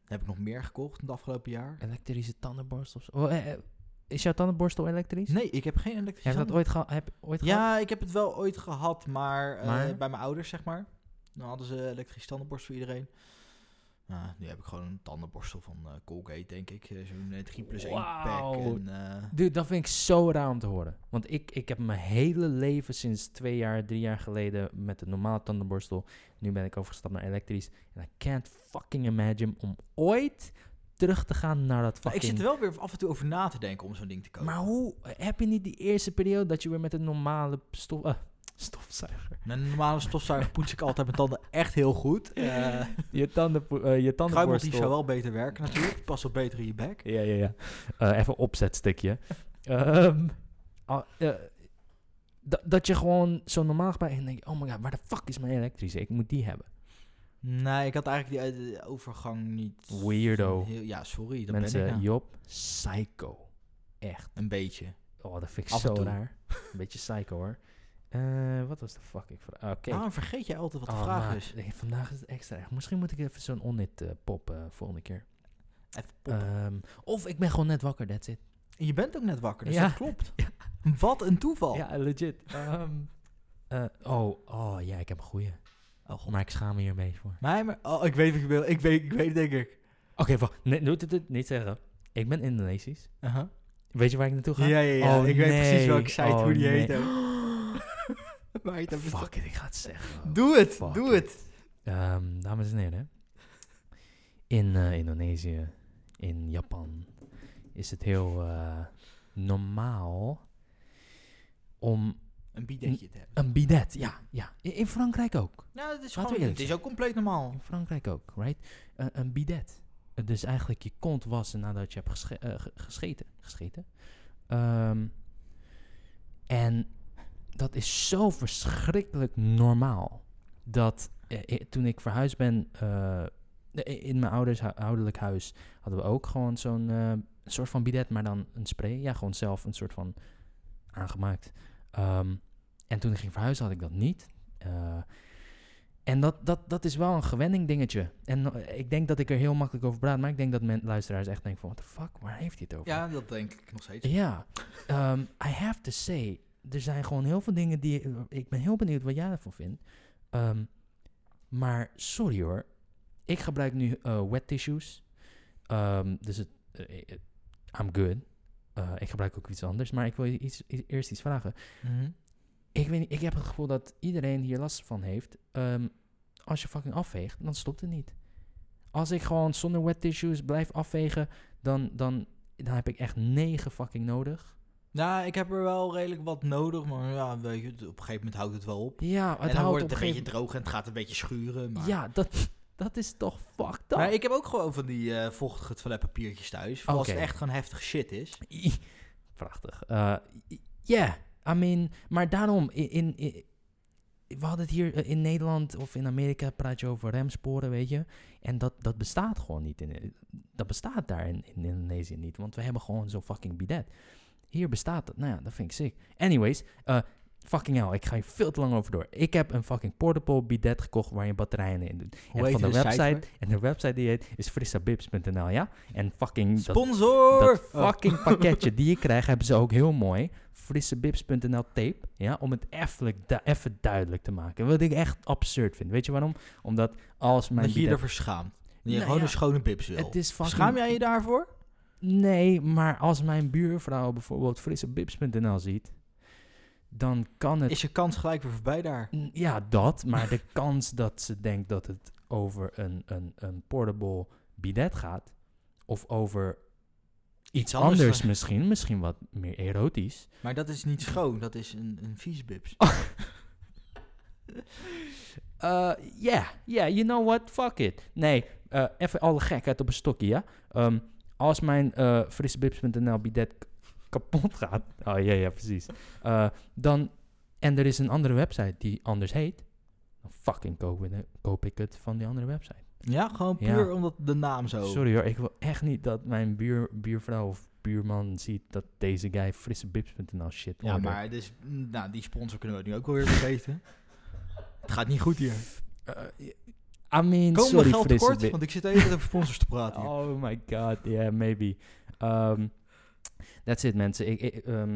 Speaker 1: heb ik nog meer gekocht in het afgelopen jaar?
Speaker 2: Elektrische tandenborstel of zo. Oh, eh, eh, is jouw tandenborstel elektrisch?
Speaker 1: Nee, ik heb geen elektrische.
Speaker 2: Heb je dat ooit, geha- heb, je ooit gehad?
Speaker 1: Ja, ik heb het wel ooit gehad, maar, eh,
Speaker 2: Maar?
Speaker 1: bij mijn ouders, zeg maar. Dan hadden ze elektrische tandenborstel voor iedereen. Nou, nu heb ik gewoon een tandenborstel van eh, Colgate, denk ik. Eh, Zo'n eh, 3 plus 1 pack.
Speaker 2: Wauw.
Speaker 1: En, eh,
Speaker 2: Dude, dat vind ik zo raar om te horen. Want ik, ik heb mijn hele leven sinds twee jaar, drie jaar geleden met een normale tandenborstel. Nu ben ik overgestapt naar elektrisch. En I can't fucking imagine om ooit terug te gaan naar dat
Speaker 1: Maar ik
Speaker 2: fucking...
Speaker 1: zit er wel weer af en toe over na te denken om zo'n ding te kopen.
Speaker 2: Maar hoe heb je niet die eerste periode dat je weer met een normale stof, eh, *laughs*
Speaker 1: *laughs*
Speaker 2: stofzuiger...
Speaker 1: Met een normale stofzuiger *laughs* poets ik altijd mijn tanden echt heel goed.
Speaker 2: *laughs*
Speaker 1: Eh
Speaker 2: je, tanden, je
Speaker 1: Kruimeltief zou
Speaker 2: tandenborstel...
Speaker 1: wel beter werken natuurlijk. Pas wat beter in je bek.
Speaker 2: Ja, ja, ja. Eh, even opzetstukje. Ehm, ah, eh, dat- dat je gewoon zo normaal bij en denk je, oh my god, waar de fuck is mijn elektrische? Ik moet die hebben.
Speaker 1: Nee, ik had eigenlijk die eh, de overgang niet...
Speaker 2: Weirdo.
Speaker 1: Heel- ja, sorry. Dat ben ik
Speaker 2: Mensen,
Speaker 1: nou.
Speaker 2: Job, psycho. Echt.
Speaker 1: Een beetje.
Speaker 2: Oh, dat vind ik
Speaker 1: Af en
Speaker 2: zo
Speaker 1: toe.
Speaker 2: raar.
Speaker 1: *laughs*
Speaker 2: Een beetje psycho hoor. Eh, wat was de fucking vraag? Oké.
Speaker 1: Waarom vergeet jij altijd Ah, wat de
Speaker 2: Oh,
Speaker 1: vraag
Speaker 2: maat,
Speaker 1: is?
Speaker 2: eh, vandaag is het extra erg. Misschien moet ik even zo'n onnit eh, pop eh, volgende keer.
Speaker 1: Even poppen.
Speaker 2: Ehm, of ik ben gewoon net wakker, that's it.
Speaker 1: En je bent ook net wakker, dus
Speaker 2: *laughs* ja.
Speaker 1: dat klopt. Wat een toeval.
Speaker 2: Ja, legit. Ehm, eh, oh, oh ja, ik heb een goeie.
Speaker 1: Oh, god.
Speaker 2: Maar ik schaam me hier een beetje voor.
Speaker 1: Maar, maar, oh, ik weet wat je wil. Ik weet, ik weet denk ik.
Speaker 2: Oké, wacht. Nee, doe dit niet zeggen. Ik ben Indonesisch.
Speaker 1: Uh-huh.
Speaker 2: Weet je waar ik naartoe ga?
Speaker 1: Ja, ja, ja.
Speaker 2: Oh,
Speaker 1: ik weet precies
Speaker 2: nee.
Speaker 1: welke site,
Speaker 2: Oh,
Speaker 1: hoe die
Speaker 2: nee.
Speaker 1: heet
Speaker 2: *laughs*
Speaker 1: ook.
Speaker 2: *gasps*
Speaker 1: maar je hebt het
Speaker 2: Fuck it, ik ga het zeggen.
Speaker 1: Doe het,
Speaker 2: Fuck
Speaker 1: doe het.
Speaker 2: Ehm, dames en heren. In eh, Indonesië, in Japan, is het heel eh, normaal om
Speaker 1: Een bidetje te hebben.
Speaker 2: een bidet. Ja, ja. I- In Frankrijk ook.
Speaker 1: Nou, het is
Speaker 2: Laten we
Speaker 1: gewoon,
Speaker 2: eerlijk
Speaker 1: het is
Speaker 2: zijn.
Speaker 1: ook compleet normaal.
Speaker 2: In Frankrijk ook, right? Een- een bidet. Eh, Dus eigenlijk je kont wassen nadat je hebt gesche- eh, ge- gescheten. gescheten. Ehm, en dat is zo verschrikkelijk normaal. Dat eh, eh, toen ik verhuisd ben, eh, eh, in mijn ouders hu- ouderlijk huis, hadden we ook gewoon zo'n eh, soort van bidet, maar dan een spray. Ja, gewoon zelf een soort van aangemaakt. Ehm, en toen ik ging verhuizen had ik dat niet. Eh, en dat, dat, dat is wel een gewenning dingetje. En eh, ik denk dat ik er heel makkelijk over praat, maar ik denk dat mijn luisteraars echt denken van, what the fuck, waar heeft hij het over?
Speaker 1: Ja, dat denk ik nog steeds.
Speaker 2: Ja, ehm, I have to say, er zijn gewoon heel veel dingen die... Ik ben heel benieuwd wat jij ervan vindt. Ehm, maar sorry hoor, ik gebruik nu eh, wet tissues. Ehm, dus het, eh, eh, I'm good. eh, ik gebruik ook iets anders, maar ik wil je iets, i- eerst iets vragen.
Speaker 1: Mhm.
Speaker 2: Ik, weet niet, ik heb het gevoel dat iedereen hier last van heeft. Ehm, als je fucking afveegt, dan stopt het niet. Als ik gewoon zonder wet tissues blijf afvegen, dan, dan, dan heb ik echt negen fucking nodig.
Speaker 1: Nou, ik heb er wel redelijk wat nodig, maar ja, weet je, op een gegeven moment houdt het wel op.
Speaker 2: Ja, het
Speaker 1: en dan
Speaker 2: houdt
Speaker 1: wordt
Speaker 2: op
Speaker 1: het een beetje
Speaker 2: gegeven-
Speaker 1: droog en het gaat een beetje schuren. Maar...
Speaker 2: Ja, dat, *laughs* dat is toch fucked up.
Speaker 1: Maar ik heb ook gewoon van die eh, vochtige toiletpapiertjes thuis. Voor als het
Speaker 2: Oké.
Speaker 1: echt gewoon heftig shit is.
Speaker 2: I- Prachtig. Eh, i- Ja, I mean, maar daarom, i- in, i- we hadden het hier eh, in Nederland of in Amerika praat je over remsporen, weet je. En dat, dat bestaat gewoon niet. In, eh, dat bestaat daar in, in Indonesië niet, want we hebben gewoon zo'n fucking bidet. Hier bestaat dat. Nou ja, dat vind ik sick. Anyways, eh, fucking hell, ik ga hier veel te lang over door. Ik heb een fucking portable bidet gekocht waar je batterijen in doet. en van de, website, en de website die heet is frissabips.nl, ja? En fucking... dat-
Speaker 1: Sponsor!
Speaker 2: dat fucking
Speaker 1: *laughs*
Speaker 2: pakketje die je krijgt, hebben ze ook heel mooi. Frissebips.nl tape. Ja, om het even, du- even duidelijk te maken. Wat ik echt absurd vind. Weet je waarom? Omdat als mijn.
Speaker 1: dat je je
Speaker 2: bidet-
Speaker 1: ervoor schaamt. Dat je
Speaker 2: Nou
Speaker 1: gewoon
Speaker 2: ja,
Speaker 1: een schone bips wil.
Speaker 2: het is fucking.
Speaker 1: Schaam jij je daarvoor?
Speaker 2: Nee, maar als mijn buurvrouw bijvoorbeeld frissebips.nl ziet, dan kan het.
Speaker 1: Is je kans gelijk weer voorbij daar?
Speaker 2: N- Ja, dat. Maar de *laughs* kans dat ze denkt dat het over een, een, een portable bidet gaat. Of over iets
Speaker 1: anders
Speaker 2: anders,
Speaker 1: dan-
Speaker 2: misschien. Misschien wat meer erotisch.
Speaker 1: Maar dat is niet schoon, dat is een, een vies bips.
Speaker 2: *laughs* Eh, yeah, yeah, you know what? Fuck it. Nee, eh, even alle gekheid op een stokje, ja? Ehm, als mijn eh frissebips.nl bidet k- kapot gaat... *laughs* Oh, ja, ja, precies. Eh, dan... En er is een andere website die anders heet... Dan fucking koop, ik- koop ik het van die andere website.
Speaker 1: Ja, gewoon
Speaker 2: Ja.
Speaker 1: puur omdat de naam zo...
Speaker 2: Sorry hoor, ik wil echt niet dat mijn buur, buurvrouw of buurman ziet... dat deze guy frissebips.nl shit
Speaker 1: Ja,
Speaker 2: ordert.
Speaker 1: maar dus, nou, die sponsor kunnen we nu ook wel weer vergeten. het gaat niet goed hier.
Speaker 2: Eh, I mean,
Speaker 1: Komen we
Speaker 2: sorry
Speaker 1: geld tekort?
Speaker 2: frissebips.
Speaker 1: Want ik zit even over sponsors te praten hier.
Speaker 2: *laughs* Oh my god, yeah, maybe. Um, that's it, mensen. Ik, ik, um,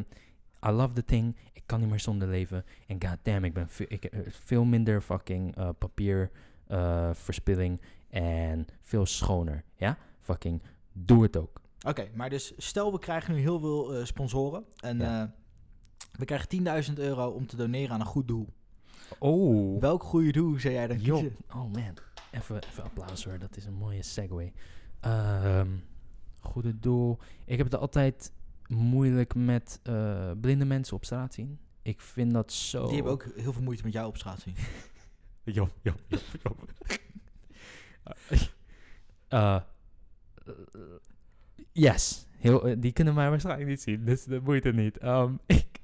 Speaker 2: I love the thing. Ik kan niet meer zonder leven. En goddamn, ik ben ve- ik, eh, veel minder fucking eh, papier eh, verspilling en veel schoner. Ja, fucking doe het ook.
Speaker 1: Oké, maar dus stel we krijgen nu heel veel eh, sponsoren. En
Speaker 2: Ja.
Speaker 1: eh, we krijgen 10.000 euro om te doneren aan een goed doel.
Speaker 2: Oh,
Speaker 1: Welk goede doel zou jij dan
Speaker 2: Yo.
Speaker 1: kiezen?
Speaker 2: oh man, even even applaus hoor. Dat is een mooie segue. Ehm, goede doel. Ik heb het altijd moeilijk met eh, blinde mensen op straat zien. Ik vind dat zo.
Speaker 1: Die hebben ook heel veel moeite met jou op straat zien.
Speaker 2: Job, job, job, job.
Speaker 1: *laughs*
Speaker 2: Eh, yes. Heel, eh, die kunnen mij waarschijnlijk niet zien, dus dat moeite niet. Ehm, *laughs* ik,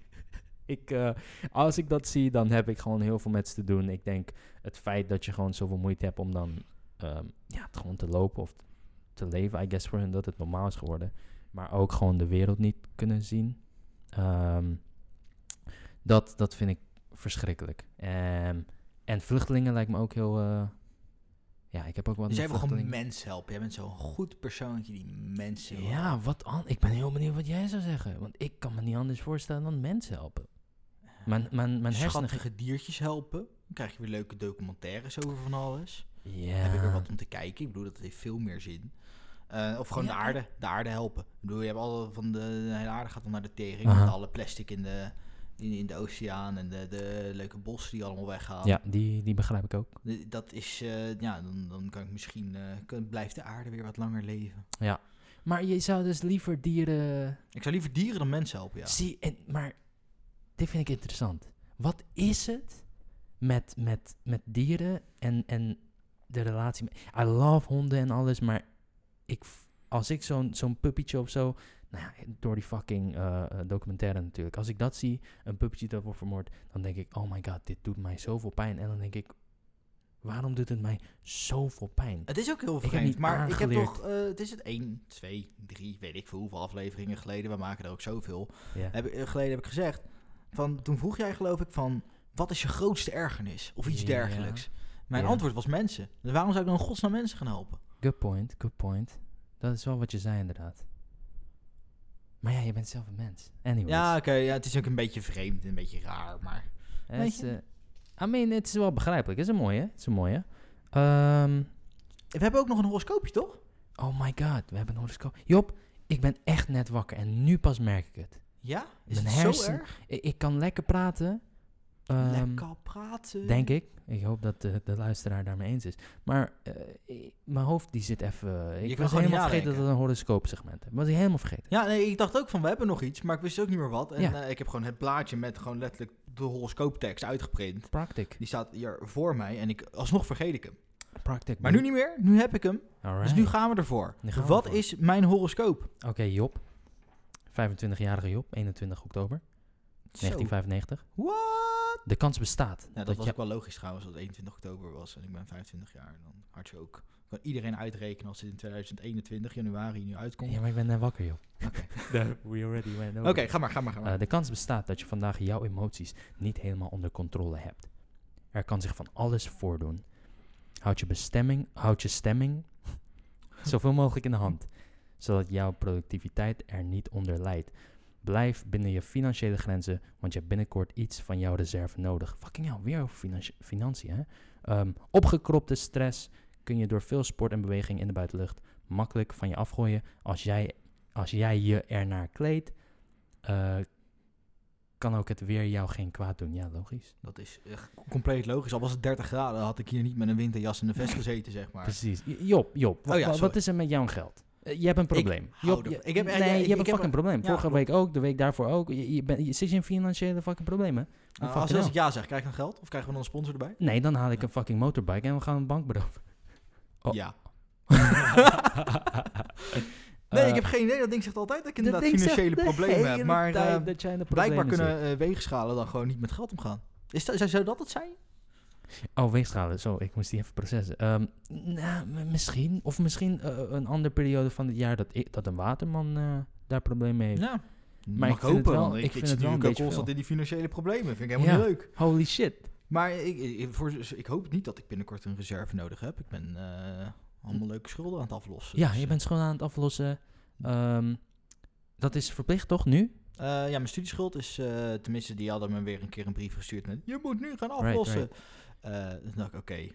Speaker 2: ik, eh, als ik dat zie, dan heb ik gewoon heel veel met ze te doen. Ik denk het feit dat je gewoon zoveel moeite hebt om dan ehm, ja, het gewoon te lopen of te leven, I guess voor hen dat het normaal is geworden. Maar ook gewoon de wereld niet kunnen zien. Ehm, dat, dat vind ik verschrikkelijk. Ehm, en vluchtelingen lijkt me ook heel. eh, ja, ik heb ook wat.
Speaker 1: Dus jij
Speaker 2: met
Speaker 1: wil gewoon
Speaker 2: vluchtelingen.
Speaker 1: mensen helpen. Jij bent zo'n goed persoontje die mensen wil helpen.
Speaker 2: Ja, wat an- Ik ben heel benieuwd wat jij zou zeggen. Want ik kan me niet anders voorstellen dan mensen helpen. Mijn, mijn, mijn hersenen.
Speaker 1: Schattige diertjes helpen. Dan krijg je weer leuke documentaires over van alles.
Speaker 2: Ja.
Speaker 1: Dan heb je weer wat om te kijken. Ik bedoel, dat heeft veel meer zin. Eh, of gewoon
Speaker 2: Ja,
Speaker 1: de aarde. De aarde helpen. Ik bedoel, je hebt alle van de, de hele aarde gaat dan naar de tering.
Speaker 2: Aha.
Speaker 1: Met alle plastic in de, in, in de oceaan en de, de leuke bossen die allemaal weggaan.
Speaker 2: Ja, die, die begrijp ik ook.
Speaker 1: D- Dat is, eh, ja, dan, dan kan ik misschien, eh, kan- blijft de aarde weer wat langer leven.
Speaker 2: Maar je zou dus liever dieren.
Speaker 1: Ik zou liever dieren dan mensen helpen, ja.
Speaker 2: Zie, en, maar dit vind ik interessant. Wat is het met, met, met dieren en, en de relatie? met- I love honden en alles, maar ik, v- als ik zo'n zo'n puppietje of zo... Nou ja, door die fucking eh, eh, documentaire natuurlijk. Als ik dat zie, een puppietje dat wordt vermoord... dan denk ik, oh my god, dit doet mij zoveel pijn. En dan denk ik, waarom doet het mij zoveel pijn?
Speaker 1: Het is ook heel
Speaker 2: heb
Speaker 1: vreemd,
Speaker 2: niet
Speaker 1: maar ik heb
Speaker 2: aangeleerd.
Speaker 1: toch, eh, het is het 1, 2, 3, weet ik veel hoeveel afleveringen geleden, we maken er ook zoveel,
Speaker 2: Ja.
Speaker 1: heb, ik- eh, geleden heb ik gezegd, van, toen vroeg jij geloof ik van, wat is je grootste ergernis? Of iets
Speaker 2: Ja.
Speaker 1: dergelijks. Mijn
Speaker 2: Ja.
Speaker 1: antwoord was mensen. Dus waarom zou ik dan in godsnaam mensen gaan helpen?
Speaker 2: Good point, good point. Dat is wel wat je zei inderdaad. Maar ja, je bent zelf een mens. Anyways.
Speaker 1: Ja, oké, ja, het is ook een beetje vreemd en een beetje raar, maar...
Speaker 2: Het
Speaker 1: Weet
Speaker 2: is,
Speaker 1: je?
Speaker 2: eh, I mean, het is wel begrijpelijk. Het is een mooie. Het is een mooie. Ehm,
Speaker 1: We hebben ook nog een horoscoopje, toch?
Speaker 2: oh my god, we hebben een horoscoop. Job, Ik ben echt net wakker en nu pas merk ik het.
Speaker 1: Ja? Is
Speaker 2: Mijn
Speaker 1: het zo
Speaker 2: hersen-
Speaker 1: erg?
Speaker 2: I- ik kan lekker praten. ehm,
Speaker 1: Lekker praten.
Speaker 2: Denk ik. Ik hoop dat de, de luisteraar daarmee eens is. Maar eh, i- mijn hoofd die zit even... eh, Ik
Speaker 1: kan gewoon
Speaker 2: was
Speaker 1: niet
Speaker 2: helemaal vergeten dat
Speaker 1: nadenken.
Speaker 2: het een horoscoopsegment is. Was ik helemaal vergeten.
Speaker 1: Ja, nee, ik dacht ook van, we hebben nog iets, maar ik wist ook niet meer wat. En
Speaker 2: Ja.
Speaker 1: eh, ik heb gewoon het plaatje met gewoon letterlijk de horoscooptekst uitgeprint.
Speaker 2: Praktik.
Speaker 1: Die staat hier voor mij en ik, alsnog vergeet ik hem.
Speaker 2: Praktik.
Speaker 1: Maar nu niet meer, nu heb ik hem.
Speaker 2: Hmm. Alright.
Speaker 1: Dus nu gaan we ervoor.
Speaker 2: Nu gaan we
Speaker 1: wat
Speaker 2: ervoor.
Speaker 1: is mijn horoscoop?
Speaker 2: Oké, Job. 25-jarige Job, 21 oktober 1995.
Speaker 1: What?
Speaker 2: De kans bestaat
Speaker 1: Ja, Nou, dat,
Speaker 2: dat
Speaker 1: was
Speaker 2: je
Speaker 1: ook wel logisch trouwens, dat het 21 oktober was en ik ben 25 jaar. Dan had je ook, kan iedereen uitrekenen als dit in 2021 januari nu uitkomt.
Speaker 2: Ja, maar ik ben net wakker, joh. *laughs*
Speaker 1: Oké.
Speaker 2: We already went
Speaker 1: Oké, ga maar, ga maar, ga maar.
Speaker 2: Eh, de kans bestaat dat je vandaag jouw emoties niet helemaal onder controle hebt. Er kan zich van alles voordoen. Houd je bestemming, houd je stemming *laughs* zoveel mogelijk in de hand, zodat jouw productiviteit er niet onder lijdt. Blijf binnen je financiële grenzen, want je hebt binnenkort iets van jouw reserve nodig. Fucking jou, weer over financi- financiën, hè? Ehm, opgekropte stress kun je door veel sport en beweging in de buitenlucht makkelijk van je afgooien als jij, als jij je ernaar kleedt. Eh, kan ook het weer jou geen kwaad doen. Ja, logisch.
Speaker 1: dat is echt compleet logisch. Al was het 30 graden, had ik hier niet met een winterjas en een vest gezeten, zeg maar.
Speaker 2: Precies. J- Job, Job, wa-
Speaker 1: Oh ja,
Speaker 2: wa- wat
Speaker 1: sorry.
Speaker 2: is er met jouw geld? Eh, je hebt een probleem.
Speaker 1: hou
Speaker 2: Job,
Speaker 1: ervan.
Speaker 2: je,
Speaker 1: Ik heb-
Speaker 2: nee,
Speaker 1: ja,
Speaker 2: je
Speaker 1: ik-
Speaker 2: hebt
Speaker 1: ik
Speaker 2: een
Speaker 1: heb
Speaker 2: fucking probleem.
Speaker 1: ja,
Speaker 2: Vorige week ook, de week daarvoor ook. Je, je, bent- je zit in financiële fucking problemen.
Speaker 1: Nou,
Speaker 2: fuck
Speaker 1: als,
Speaker 2: it
Speaker 1: als
Speaker 2: up.
Speaker 1: ik ja zeg, krijg ik dan geld? Of krijgen we dan een sponsor erbij?
Speaker 2: Nee, dan haal ik een fucking motorbike en we gaan een bank beroven. Oh.
Speaker 1: Ja. *laughs* nee, ik
Speaker 2: Eh,
Speaker 1: heb geen idee. Dat ding zegt altijd dat ik inderdaad financiële problemen heb. Maar eh, blijkbaar kunnen eh, weegschalen dan gewoon niet met geld omgaan. Is dat, zou- zou dat het zijn?
Speaker 2: Oh, weegschalen. Zo, ik moest die even processen. Ehm, nou, m- misschien. Of misschien eh, een andere periode van het jaar dat, ik, dat een waterman eh, daar problemen mee heeft.
Speaker 1: Ja.
Speaker 2: Maar ik vind het wel- ik vind het
Speaker 1: zit
Speaker 2: wel
Speaker 1: nu
Speaker 2: een
Speaker 1: ook
Speaker 2: beetje
Speaker 1: constant in
Speaker 2: veel.
Speaker 1: die financiële problemen. Vind ik helemaal
Speaker 2: Ja.
Speaker 1: niet leuk.
Speaker 2: Holy shit.
Speaker 1: Maar ik, ik, voor, ik hoop niet dat ik binnenkort een reserve nodig heb. Ik ben eh, allemaal leuke schulden aan het aflossen.
Speaker 2: Ja,
Speaker 1: Dus,
Speaker 2: je bent schoon aan het aflossen. Ehm, dat is verplicht, toch? Nu?
Speaker 1: eh, ja, mijn studieschuld is... eh, tenminste, die hadden me weer een keer een brief gestuurd met... Je moet nu gaan aflossen. Eh, dan dacht ik, oké,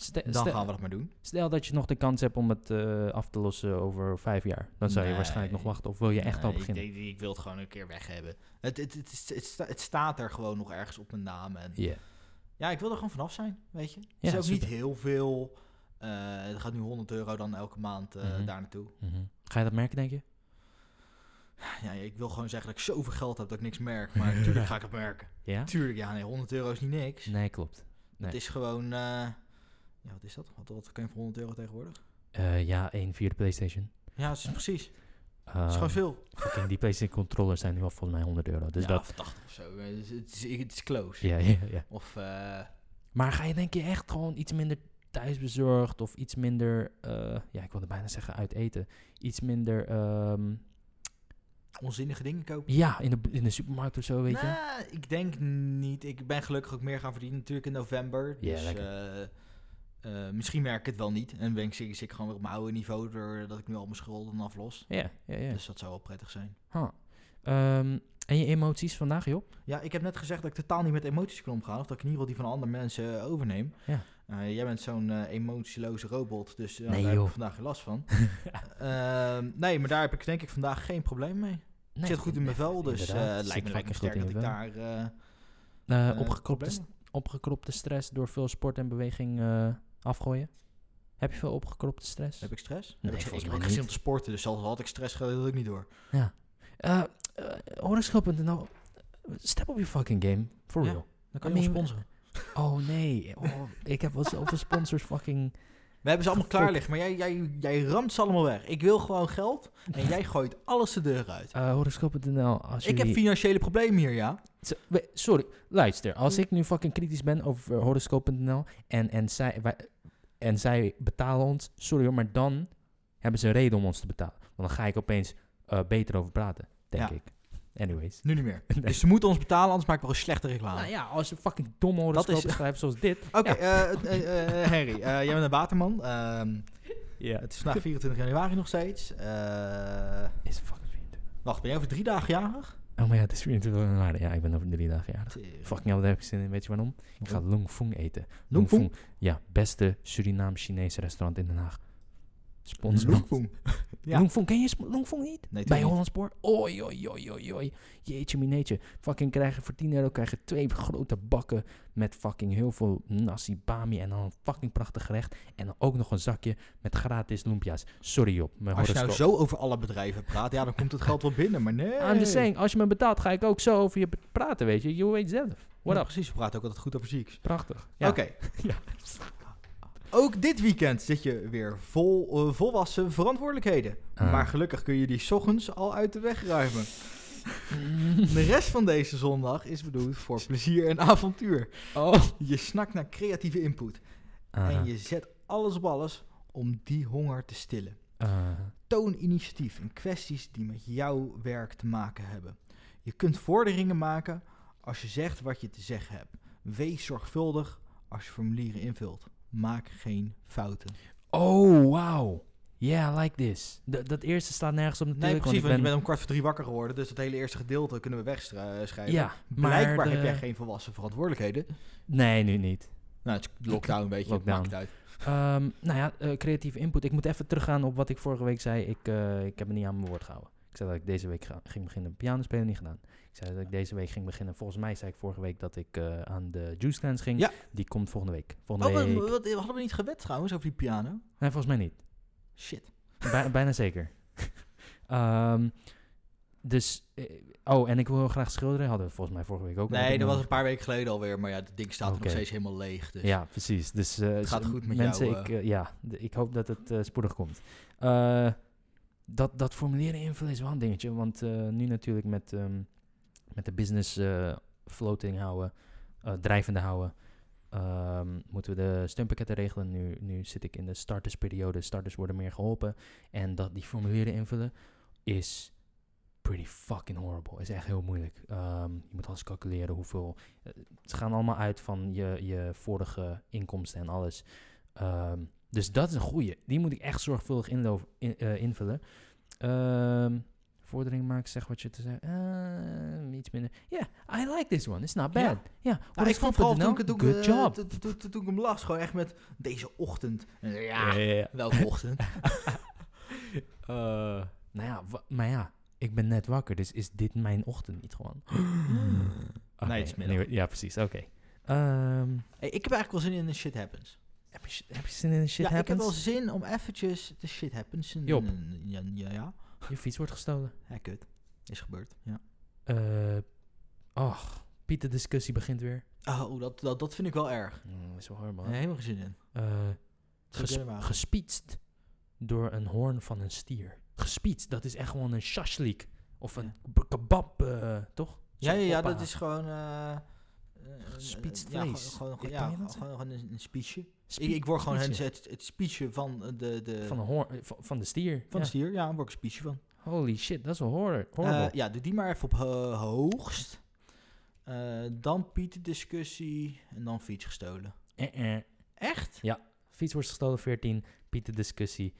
Speaker 2: Ste-
Speaker 1: dan
Speaker 2: stel,
Speaker 1: gaan we dat maar doen.
Speaker 2: stel dat je nog de kans hebt om het eh, af te lossen over vijf jaar. Dan zou je waarschijnlijk nog
Speaker 1: Nee.
Speaker 2: wachten. Of wil je echt al
Speaker 1: Nee, ik
Speaker 2: beginnen?
Speaker 1: denk- Ik, wil het gewoon een keer weg hebben. Het, het, het, is- het, sta- het staat er gewoon nog ergens op mijn naam. En
Speaker 2: Ja.
Speaker 1: Ja, ik wil er gewoon vanaf zijn, weet je. Het
Speaker 2: Ja,
Speaker 1: is ook
Speaker 2: super.
Speaker 1: niet heel veel. Eh er gaat nu 100 euro dan elke maand eh,
Speaker 2: Mhm.
Speaker 1: daar naartoe.
Speaker 2: Mhm. Ga je dat merken, denk je?
Speaker 1: Ja, ik wil gewoon zeggen dat ik zoveel geld heb dat ik niks merk. Maar
Speaker 2: *laughs*
Speaker 1: natuurlijk ga ik het merken.
Speaker 2: Ja?
Speaker 1: Tuurlijk, ja, nee, 100 euro is niet niks.
Speaker 2: Nee, klopt.
Speaker 1: Het is gewoon... eh, ja, wat is dat? Wat, wat kan je voor 100 euro tegenwoordig?
Speaker 2: Eh, ja, één vierde PlayStation.
Speaker 1: Ja, dat is precies. Het
Speaker 2: Ehm,
Speaker 1: is gewoon veel.
Speaker 2: fucking die PlayStation controllers zijn nu al volgens mij 100 euro. Dus
Speaker 1: ja,
Speaker 2: dat.
Speaker 1: of 80 of zo. Eh, dus Het is, het is close.
Speaker 2: Ja, ja, ja.
Speaker 1: Of... eh,
Speaker 2: Maar ga je denk je echt gewoon iets minder thuisbezorgd of iets minder, eh, ja, ik wilde bijna zeggen uit eten, iets minder, ehm,
Speaker 1: onzinnige dingen kopen.
Speaker 2: ja, in de, in de supermarkt of zo, weet je?
Speaker 1: Nou, ik denk niet. Ik ben gelukkig ook meer gaan verdienen natuurlijk in november.
Speaker 2: Ja,
Speaker 1: Dus eh, eh, misschien merk ik het wel niet. En ben ik zeker zit ik gewoon weer op mijn oude niveau doordat ik nu al mijn schulden aflos.
Speaker 2: Ja, ja, ja.
Speaker 1: Dus dat zou wel prettig zijn.
Speaker 2: Huh. Ehm, en je emoties vandaag,
Speaker 1: *laughs*
Speaker 2: joh?
Speaker 1: Ja, ik heb net gezegd dat ik totaal niet met emoties kan omgaan. Of dat ik in ieder geval die van andere mensen eh, overneem.
Speaker 2: Ja.
Speaker 1: Eh, jij bent zo'n eh, emotieloze robot, dus eh,
Speaker 2: Nee,
Speaker 1: daar heb
Speaker 2: joh.
Speaker 1: ik vandaag geen last van. Ehm, nee, maar daar heb ik denk ik vandaag geen probleem mee.
Speaker 2: Nee,
Speaker 1: ik zit goed in mijn vel, dus eh,
Speaker 2: inderdaad,
Speaker 1: het
Speaker 2: zit
Speaker 1: lijkt me lekker
Speaker 2: fucking
Speaker 1: sterk dat
Speaker 2: goed in
Speaker 1: ik
Speaker 2: je
Speaker 1: daar... eh,
Speaker 2: Eh,
Speaker 1: eh,
Speaker 2: opgekropte,
Speaker 1: problemen-
Speaker 2: st- opgekropte stress door veel sport en beweging eh, afgooien? Heb je veel opgekropte stress?
Speaker 1: Heb ik stress?
Speaker 2: Nee,
Speaker 1: heb ik,
Speaker 2: volgens
Speaker 1: ik heb
Speaker 2: mij
Speaker 1: geen zin om
Speaker 2: niet.
Speaker 1: te sporten, dus al had ik stress gehad, dat ik niet door.
Speaker 2: Eh, eh, Horoscoop.nl, step op je fucking game, for
Speaker 1: Ja,
Speaker 2: real.
Speaker 1: Dan
Speaker 2: kan
Speaker 1: kan
Speaker 2: je
Speaker 1: je
Speaker 2: ons
Speaker 1: sponsoren.
Speaker 2: *laughs* Oh nee, oh, ik heb wel zoveel sponsors fucking...
Speaker 1: We hebben ze allemaal
Speaker 2: Fuck.
Speaker 1: klaar liggen, maar jij, jij, jij ramt ze allemaal weg. Ik wil gewoon geld
Speaker 2: *laughs*
Speaker 1: en jij gooit alles de deur uit.
Speaker 2: eh horoscoop.nl, als
Speaker 1: Ik heb
Speaker 2: jullie-
Speaker 1: financiële problemen hier, ja.
Speaker 2: Zo- we- Sorry, luister.
Speaker 1: Hm.
Speaker 2: Als ik nu fucking kritisch ben over eh, horoscoop.nl en, en, zij, wij- en zij betalen ons, sorry hoor, maar dan hebben ze een reden om ons te betalen. Want dan ga ik opeens eh, beter over praten, denk
Speaker 1: Ja.
Speaker 2: ik. Anyways.
Speaker 1: Nu niet meer. Dus ze moeten ons betalen, anders maken we een slechte reclame.
Speaker 2: Nou ja, als je fucking domme horoscopen schrijft zoals dit.
Speaker 1: Ah. *laughs* Oké, eh, eh, eh, Henry, eh, jij bent een waterman. Ehm,
Speaker 2: Ja.
Speaker 1: het is vandaag 24 januari nog steeds. Eh,
Speaker 2: Is fucking 24.
Speaker 1: wacht, ben jij over drie dagen jarig?
Speaker 2: Oh maar ja, het is 24 januari. Ja, ik ben over drie dagen jarig. Fucking hell, daar heb ik zin in. Weet je waarom? Ik ga longfung eten.
Speaker 1: Longfung?
Speaker 2: Ja, beste Surinaam-Chinese restaurant in Den Haag. Sponsor. ons.
Speaker 1: Loekvoem. Ja.
Speaker 2: Longfong, ken je Sp- Longfong niet?
Speaker 1: Nee,
Speaker 2: Bij
Speaker 1: tuurlijk
Speaker 2: Holland Spoor? Oi, oi, oi, oi, oi. Jeetje, mineetje. Fucking krijgen voor 10 euro krijgen twee grote bakken met fucking heel veel nasi bami en dan een fucking prachtig gerecht. En dan ook nog een zakje met gratis lumpia's. Sorry op, mijn
Speaker 1: Als je nou
Speaker 2: horoscoop.
Speaker 1: zo over alle bedrijven praat, ja, dan komt het geld wel binnen, maar nee.
Speaker 2: I'm just saying, als je me betaalt, ga ik ook zo over je praten, weet je. Je weet zelf. What
Speaker 1: Ja,
Speaker 2: up?
Speaker 1: precies, we praten ook altijd goed over zieks.
Speaker 2: Prachtig. Ja.
Speaker 1: Oké.
Speaker 2: *laughs* Ja.
Speaker 1: Ook dit weekend zit je weer vol eh, volwassen verantwoordelijkheden.
Speaker 2: Ah.
Speaker 1: Maar gelukkig kun je die 's ochtends al uit de weg ruimen. *laughs* De rest van deze zondag is bedoeld voor plezier en avontuur.
Speaker 2: Oh.
Speaker 1: Je snakt naar creatieve input
Speaker 2: Eh,
Speaker 1: en je zet alles op alles om die honger te stillen.
Speaker 2: eh.
Speaker 1: Toon initiatief in kwesties die met jouw werk te maken hebben. Je kunt vorderingen maken als je zegt wat je te zeggen hebt. Wees zorgvuldig als je formulieren invult. Maak geen fouten.
Speaker 2: oh, wow. Yeah, I like this. D- dat eerste staat nergens op
Speaker 1: Nee,
Speaker 2: natuurlijk.
Speaker 1: precies, want
Speaker 2: want
Speaker 1: je bent
Speaker 2: ik
Speaker 1: om kwart voor drie wakker geworden, dus dat hele eerste gedeelte kunnen we wegschrijven.
Speaker 2: ben... Ja, maar
Speaker 1: Blijkbaar heb
Speaker 2: de-
Speaker 1: jij geen volwassen verantwoordelijkheden.
Speaker 2: Nee, nu niet.
Speaker 1: Nou, het is lockdown een beetje,
Speaker 2: Lockdown.
Speaker 1: maakt het uit.
Speaker 2: Ehm, nou ja, eh, creatieve input. Ik moet even teruggaan op wat ik vorige week zei. Ik, eh, ik heb me niet aan mijn woord gehouden. Ik zei dat ik deze week ga- ging beginnen piano spelen, niet gedaan. Ik zei dat ik deze week ging beginnen. Volgens mij zei ik vorige week dat ik eh, aan de Juice Cleanse ging.
Speaker 1: Ja.
Speaker 2: Die komt volgende week.
Speaker 1: Oh,
Speaker 2: Volgende
Speaker 1: we,
Speaker 2: week.
Speaker 1: we- we- hadden we niet gewet trouwens over die piano?
Speaker 2: Nee, volgens mij niet.
Speaker 1: Shit.
Speaker 2: Bij- *laughs* bijna zeker. Ehm, dus, eh, oh, en ik wil heel graag schilderen. Hadden we volgens mij vorige week ook. Heb
Speaker 1: Nee,
Speaker 2: ik
Speaker 1: dat
Speaker 2: nog-
Speaker 1: was een paar weken geleden alweer, maar ja, het ding staat er
Speaker 2: Oké.
Speaker 1: nog steeds helemaal leeg. Dus.
Speaker 2: Ja, precies. Dus, eh,
Speaker 1: Het gaat
Speaker 2: s-
Speaker 1: goed met
Speaker 2: mensen,
Speaker 1: jou,
Speaker 2: Ik, eh, ja, d- ik hoop dat het eh, spoedig komt. Eh, dat, dat formulieren invullen is wel een dingetje. Want eh, nu natuurlijk met, ehm, met de business eh, floating houden, eh, drijvende houden, ehm, moeten we de steunpakketten regelen. Nu, nu zit ik in de startersperiode. Starters worden meer geholpen. En dat die formulieren invullen is pretty fucking horrible. Is echt heel moeilijk. Ehm, je moet alles calculeren hoeveel eh, ze gaan allemaal uit van je, je vorige inkomsten en alles. Ehm, dus dat is een goeie. Die moet ik echt zorgvuldig inlo- in- eh, invullen. Ehm, vordering maken, zeg wat je te zeggen. Eh, iets minder. Ja, I like this one. It's not bad.
Speaker 1: Ja.
Speaker 2: Ja,
Speaker 1: Nou, ik vond vooral toen ik, het- toen, ik,
Speaker 2: Good
Speaker 1: eh,
Speaker 2: job.
Speaker 1: toen- toen- toen- toen ik hem las, gewoon echt met deze ochtend. En Ja,
Speaker 2: ja.
Speaker 1: welke ochtend?
Speaker 2: *laughs* Eh, nou ja, wa- maar ja, ik ben net wakker, dus is dit mijn ochtend niet gewoon? Oké,
Speaker 1: Nee, het is middag.
Speaker 2: anyway, ja, precies. Oké. Ehm,
Speaker 1: Hey, ik heb eigenlijk wel zin in een shit happens.
Speaker 2: heb, je, heb je zin in shit
Speaker 1: ja, ik heb
Speaker 2: happens?
Speaker 1: wel zin om eventjes de shit happens. in-
Speaker 2: Job.
Speaker 1: Ja, ja, ja.
Speaker 2: Je fiets wordt gestolen.
Speaker 1: Ja, kut. Is gebeurd, ja.
Speaker 2: Eh och, Piet, de discussie begint weer.
Speaker 1: Oh, dat, dat, dat vind ik wel erg.
Speaker 2: Mm, is wel hard, man.
Speaker 1: Helemaal geen zin in.
Speaker 2: Eh,
Speaker 1: Zou ik
Speaker 2: ges-
Speaker 1: helemaal-
Speaker 2: gespietst door een hoorn van een stier. Gespietst, dat is echt gewoon een shashlik. Of een b- kebab, eh, toch?
Speaker 1: Ja,
Speaker 2: Zo'n
Speaker 1: ja, ja,
Speaker 2: oppa.
Speaker 1: dat is gewoon... eh, eh,
Speaker 2: Gespietst
Speaker 1: ja, gewoon-
Speaker 2: vlees.
Speaker 1: Gewoon,
Speaker 2: Ken
Speaker 1: ja,
Speaker 2: je dat?
Speaker 1: gewoon, gewoon een, een speechje.
Speaker 2: Spie-
Speaker 1: Ik, ik word gewoon het,
Speaker 2: speechje.
Speaker 1: het, het speechje van eh, de, de,
Speaker 2: Van, een hoorn, eh, van, van de stier.
Speaker 1: van de
Speaker 2: ja.
Speaker 1: stier. Ja, daar word ik een speechje van.
Speaker 2: Holy shit, dat is wel horror.
Speaker 1: Eh,
Speaker 2: horrible.
Speaker 1: ja, doe die maar even op ho- hoogst. Eh, dan Piet discussie en dan fiets gestolen.
Speaker 2: Eh, eh.
Speaker 1: Echt?
Speaker 2: Fiets wordt gestolen 14. Piet, de discussie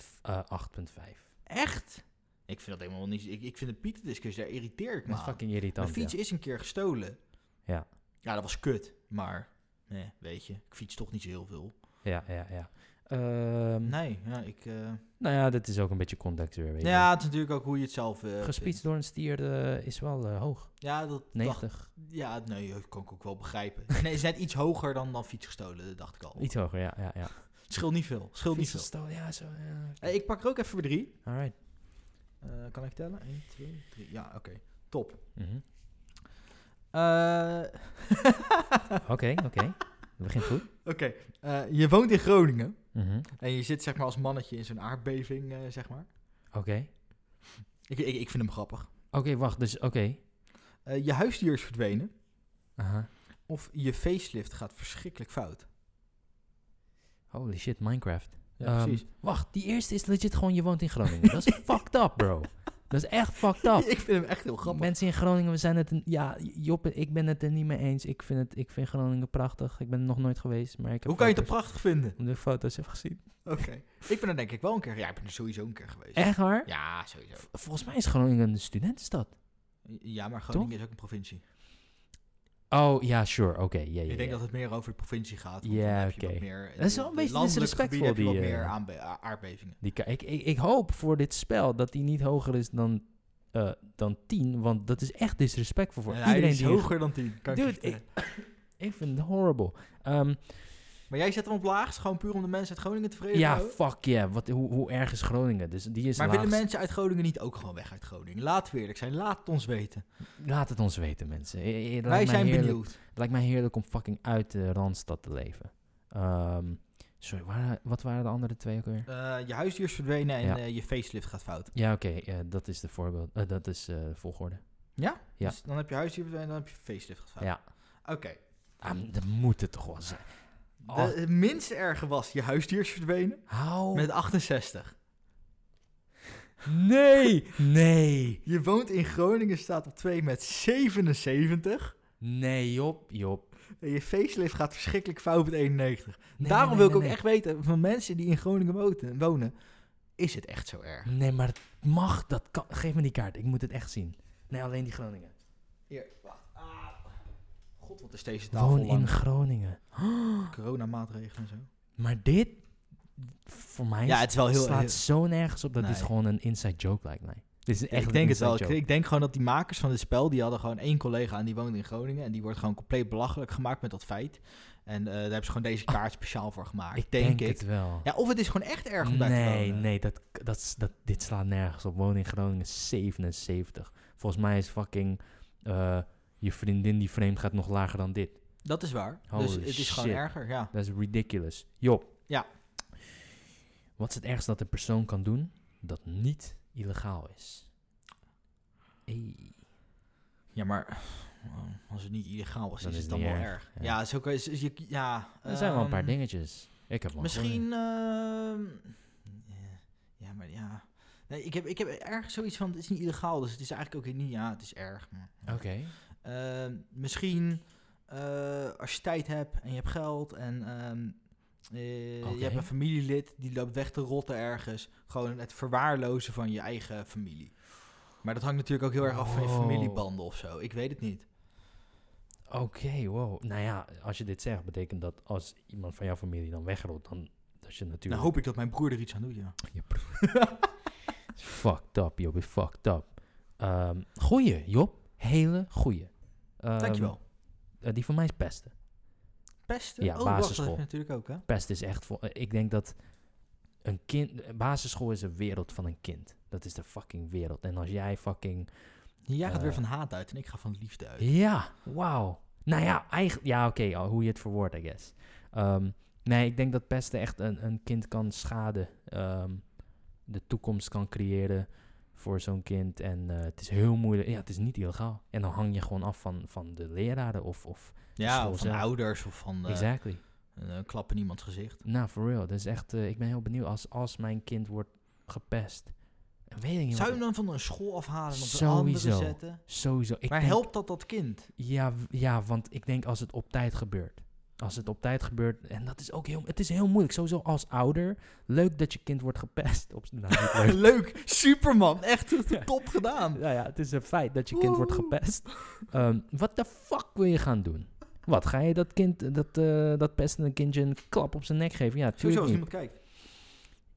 Speaker 2: f- eh, 8.5.
Speaker 1: Echt? Ik vind dat helemaal niet... Ik, ik vind de Piet discussie, daar irriteer ik me
Speaker 2: Dat is
Speaker 1: aan.
Speaker 2: fucking
Speaker 1: Mijn
Speaker 2: irritant.
Speaker 1: fiets is een keer gestolen.
Speaker 2: Ja.
Speaker 1: Ja, dat was kut. Maar, nee, weet je, ik fiets toch niet zo heel veel.
Speaker 2: Ja, ja, ja. ja. Ehm,
Speaker 1: Nee, ja, ik... eh,
Speaker 2: Nou ja, dat is ook een beetje context weer, weet je.
Speaker 1: ja, het is natuurlijk ook hoe je het zelf... eh,
Speaker 2: Gespietst door een stier eh, is wel eh, hoog.
Speaker 1: vindt. Ja, dat dacht
Speaker 2: 90.
Speaker 1: Ja, nee, dat kan ik ook wel begrijpen. Nee, is net iets hoger dan, dan fiets gestolen, dat dacht ik al.
Speaker 2: Iets hoger, ja. ja, ja.
Speaker 1: Het scheelt niet veel. het Scheelt niet
Speaker 2: Fiets
Speaker 1: veel.
Speaker 2: gestolen, ja, zo. Ja.
Speaker 1: Eh, ik pak er ook even weer drie.
Speaker 2: Alright.
Speaker 1: Eh, kan ik tellen? 1, 2, 3. Ja, oké. Top.
Speaker 2: Mhm.
Speaker 1: Eh, oké.
Speaker 2: Oké, oké.
Speaker 1: *laughs*
Speaker 2: Het begint goed.
Speaker 1: Eh, je woont in Groningen.
Speaker 2: Mhm.
Speaker 1: En je zit zeg maar als mannetje in zo'n aardbeving, eh, zeg maar.
Speaker 2: Oké.
Speaker 1: Ik, ik, ik vind hem grappig.
Speaker 2: Oké, wacht. Dus, oké.
Speaker 1: Eh, je huisdier is verdwenen.
Speaker 2: Aha.
Speaker 1: Of je facelift gaat verschrikkelijk fout.
Speaker 2: Holy shit, Minecraft.
Speaker 1: Ja,
Speaker 2: Ehm,
Speaker 1: precies.
Speaker 2: Wacht, die eerste is legit gewoon je woont in Groningen.
Speaker 1: *laughs*
Speaker 2: Dat is fucked up, bro. Dat is echt fucked up.
Speaker 1: ik vind hem echt heel grappig.
Speaker 2: Mensen in Groningen, we zijn het... een- ja, Job, ik ben het er niet mee eens. Ik vind, het, ik vind Groningen prachtig. Ik ben er nog nooit geweest, maar ik heb
Speaker 1: Hoe kan je het
Speaker 2: foto's-
Speaker 1: er prachtig vinden?
Speaker 2: Omdat ik foto's heb gezien.
Speaker 1: Oké. Ik ben er denk ik wel een keer... Ja, ik ben er sowieso een keer geweest.
Speaker 2: Echt waar?
Speaker 1: Ja, sowieso.
Speaker 2: V- Volgens mij is Groningen een studentenstad.
Speaker 1: Ja, maar Groningen is ook een provincie.
Speaker 2: Oh, ja, sure. Oké, ja, ja,
Speaker 1: Ik denk
Speaker 2: ja.
Speaker 1: dat het meer over de provincie gaat. want
Speaker 2: Ja,
Speaker 1: dan heb je wat
Speaker 2: oké.
Speaker 1: meer-
Speaker 2: Dat is wel een beetje
Speaker 1: landelijk
Speaker 2: disrespectvol,
Speaker 1: gebied heb je wat
Speaker 2: die, eh,
Speaker 1: meer aanbe- a- aardbevingen.
Speaker 2: Die ka- ik, ik, ik hoop voor dit spel dat die niet hoger is dan, eh, dan 10. Want dat is echt disrespectvol voor
Speaker 1: En
Speaker 2: iedereen
Speaker 1: hij is
Speaker 2: die...
Speaker 1: hoger dan 10. Kan ik je
Speaker 2: Dude,
Speaker 1: vertellen.
Speaker 2: Ik vind het horrible. Ehm,
Speaker 1: Maar jij zet hem op laagst, gewoon puur om de mensen uit Groningen tevreden te
Speaker 2: ja,
Speaker 1: houden?
Speaker 2: fuck yeah. Wat, hoe, hoe erg is Groningen? Dus die is
Speaker 1: Maar willen
Speaker 2: laagst.
Speaker 1: mensen uit Groningen niet ook gewoon weg uit Groningen? Laat we eerlijk zijn, laat het ons weten.
Speaker 2: Laat het ons weten, mensen. Eh, eh, het lijkt mij
Speaker 1: Wij zijn
Speaker 2: heerlijk-
Speaker 1: benieuwd.
Speaker 2: Het lijkt mij heerlijk om fucking uit de Randstad te leven. Ehm, sorry, waar- wat waren de andere twee ook weer?
Speaker 1: Eh, je huisdier is verdwenen en
Speaker 2: Ja.
Speaker 1: eh, je facelift gaat fout.
Speaker 2: Ja, oké. eh, dat is de voorbeeld. eh, dat is eh, de volgorde.
Speaker 1: Ja?
Speaker 2: Ja.
Speaker 1: Dus dan heb je huisdier verdwenen en dan heb je facelift gaat fout.
Speaker 2: Ja.
Speaker 1: Oké.
Speaker 2: Ah, m- dat moet het toch wel zijn.
Speaker 1: De-
Speaker 2: Oh.
Speaker 1: Het minst erge was je huisdier is verdwenen
Speaker 2: Hou.
Speaker 1: met 68.
Speaker 2: Nee! Nee!
Speaker 1: Je woont in Groningen, staat op 2 met 77.
Speaker 2: Nee, Job. Job.
Speaker 1: En je facelift gaat verschrikkelijk fout met 91.
Speaker 2: Nee,
Speaker 1: Daarom
Speaker 2: nee,
Speaker 1: wil
Speaker 2: nee,
Speaker 1: ik ook
Speaker 2: nee.
Speaker 1: echt weten van mensen die in Groningen wonen, wonen is het echt zo erg?
Speaker 2: Nee, maar het mag. Dat kan. Geef me die kaart. Ik moet het echt zien. Nee, alleen die Groningen.
Speaker 1: Hier, wacht. Ah. God, wat is deze tafel
Speaker 2: Woon in
Speaker 1: lang. Ah.
Speaker 2: Groningen.
Speaker 1: Coronamaatregelen en zo.
Speaker 2: Maar dit, voor mij,
Speaker 1: Ja, het is wel heel...
Speaker 2: slaat
Speaker 1: heel-
Speaker 2: zo nergens op dat dit
Speaker 1: Nee.
Speaker 2: gewoon een inside joke lijkt mij. Dit is echt
Speaker 1: ik
Speaker 2: een
Speaker 1: denk het
Speaker 2: inside
Speaker 1: wel. Ik,
Speaker 2: joke.
Speaker 1: ik denk gewoon dat die makers van dit spel, die hadden gewoon één collega en die woonde in Groningen. En die wordt gewoon compleet belachelijk gemaakt met dat feit. En eh, daar hebben ze gewoon deze kaart speciaal voor gemaakt.
Speaker 2: Ik denk het wel.
Speaker 1: Ja, of het is gewoon echt erg om daar te
Speaker 2: nee,
Speaker 1: wonen.
Speaker 2: nee, dat, dat, is- dat, dit slaat nergens op. Wonen in Groningen is 77. Volgens mij is fucking eh, je vriendin die vreemd gaat nog lager dan dit.
Speaker 1: Dat is waar. dus
Speaker 2: Holy
Speaker 1: het is gewoon
Speaker 2: shit.
Speaker 1: erger, ja.
Speaker 2: Dat is ridiculous. Job.
Speaker 1: Ja.
Speaker 2: Wat is het ergste dat een persoon kan doen dat niet illegaal is? Ey.
Speaker 1: Ja, maar oh, als het niet illegaal was,
Speaker 2: Dan
Speaker 1: is
Speaker 2: is
Speaker 1: het dan
Speaker 2: het
Speaker 1: wel
Speaker 2: niet
Speaker 1: erg.
Speaker 2: erg, ja.
Speaker 1: Ja, is ook, is, is, je- ja
Speaker 2: Er zijn wel een paar
Speaker 1: ehm,
Speaker 2: dingetjes. Ik heb wel gewoon-
Speaker 1: Misschien... ehm, ja, maar ja... Nee, ik heb, ik heb ergens zoiets van, het is niet illegaal, dus het is eigenlijk ook niet... Ja, het is erg, maar... ja.
Speaker 2: Oké.
Speaker 1: Ehm, misschien eh, als je tijd hebt en je hebt geld en ehm, eh,
Speaker 2: Oké.
Speaker 1: je hebt een familielid die loopt weg te rotten ergens. Gewoon het verwaarlozen van je eigen familie. Maar dat hangt natuurlijk ook heel erg af van je
Speaker 2: Wow.
Speaker 1: familiebanden of zo. Ik weet het niet.
Speaker 2: Oké, wow. Nou ja, als je dit zegt, betekent dat als iemand van jouw familie dan wegrolt, dan dat je
Speaker 1: Nou
Speaker 2: natuurlijk...
Speaker 1: hoop ik dat mijn broer er iets aan doet, ja.
Speaker 2: It's fucked up, Job. It's fucked up. Ehm goeie, Job. Hele goeie. Ehm,
Speaker 1: Dankjewel.
Speaker 2: eh, die van mij is pesten.
Speaker 1: Pesten?
Speaker 2: ja,
Speaker 1: oh, wacht, dat
Speaker 2: basisschool.
Speaker 1: heb je natuurlijk ook, hè?
Speaker 2: Pest is echt... Vol, eh, ik denk dat een kind... eh, Basisschool is een wereld van een kind. Dat is de fucking wereld. En als jij fucking...
Speaker 1: Jij gaat
Speaker 2: Eh.
Speaker 1: weer van haat uit en ik ga van liefde uit.
Speaker 2: Ja, wauw. Nou ja, eigenlijk... Ja, oké, al hoe je het verwoordt, I guess. Ehm, nee, ik denk dat pesten echt een, een kind kan schaden. ehm, de toekomst kan creëren voor zo'n kind. En eh, het is heel moeilijk. Ja, het is niet illegaal. En dan hang je gewoon af van, van de leraren of... of
Speaker 1: Ja,
Speaker 2: school
Speaker 1: of van
Speaker 2: zelf.
Speaker 1: ouders of van eh,
Speaker 2: exactly.
Speaker 1: een eh, klap in iemands gezicht.
Speaker 2: Nou, for real. Dus echt, eh, ik ben heel benieuwd als, als mijn kind wordt gepest. En weet ik niet
Speaker 1: Zou je nou- hem
Speaker 2: wat-
Speaker 1: dan van een school afhalen en op een andere
Speaker 2: Sowieso.
Speaker 1: zetten?
Speaker 2: Sowieso. Ik
Speaker 1: maar
Speaker 2: denk-
Speaker 1: helpt dat dat kind? *laughs*
Speaker 2: Ja, w- ja, want ik denk als het op tijd gebeurt. Als het op tijd gebeurt, en dat is ook heel... Het is heel moeilijk, sowieso als ouder. Leuk dat je kind wordt gepest. Op, nou, niet
Speaker 1: *laughs*
Speaker 2: leuk.
Speaker 1: Leuk, Superman, echt top gedaan.
Speaker 2: nou ja, het is een feit dat je kind wordt
Speaker 1: Woehoe.
Speaker 2: gepest. Ehm, wat de fuck wil je gaan doen? Wat, ga je dat kind, dat, eh dat pestende kindje een klap op zijn nek geven? Ja,
Speaker 1: Sowieso
Speaker 2: tuurlijk
Speaker 1: als
Speaker 2: niet.
Speaker 1: iemand kijkt.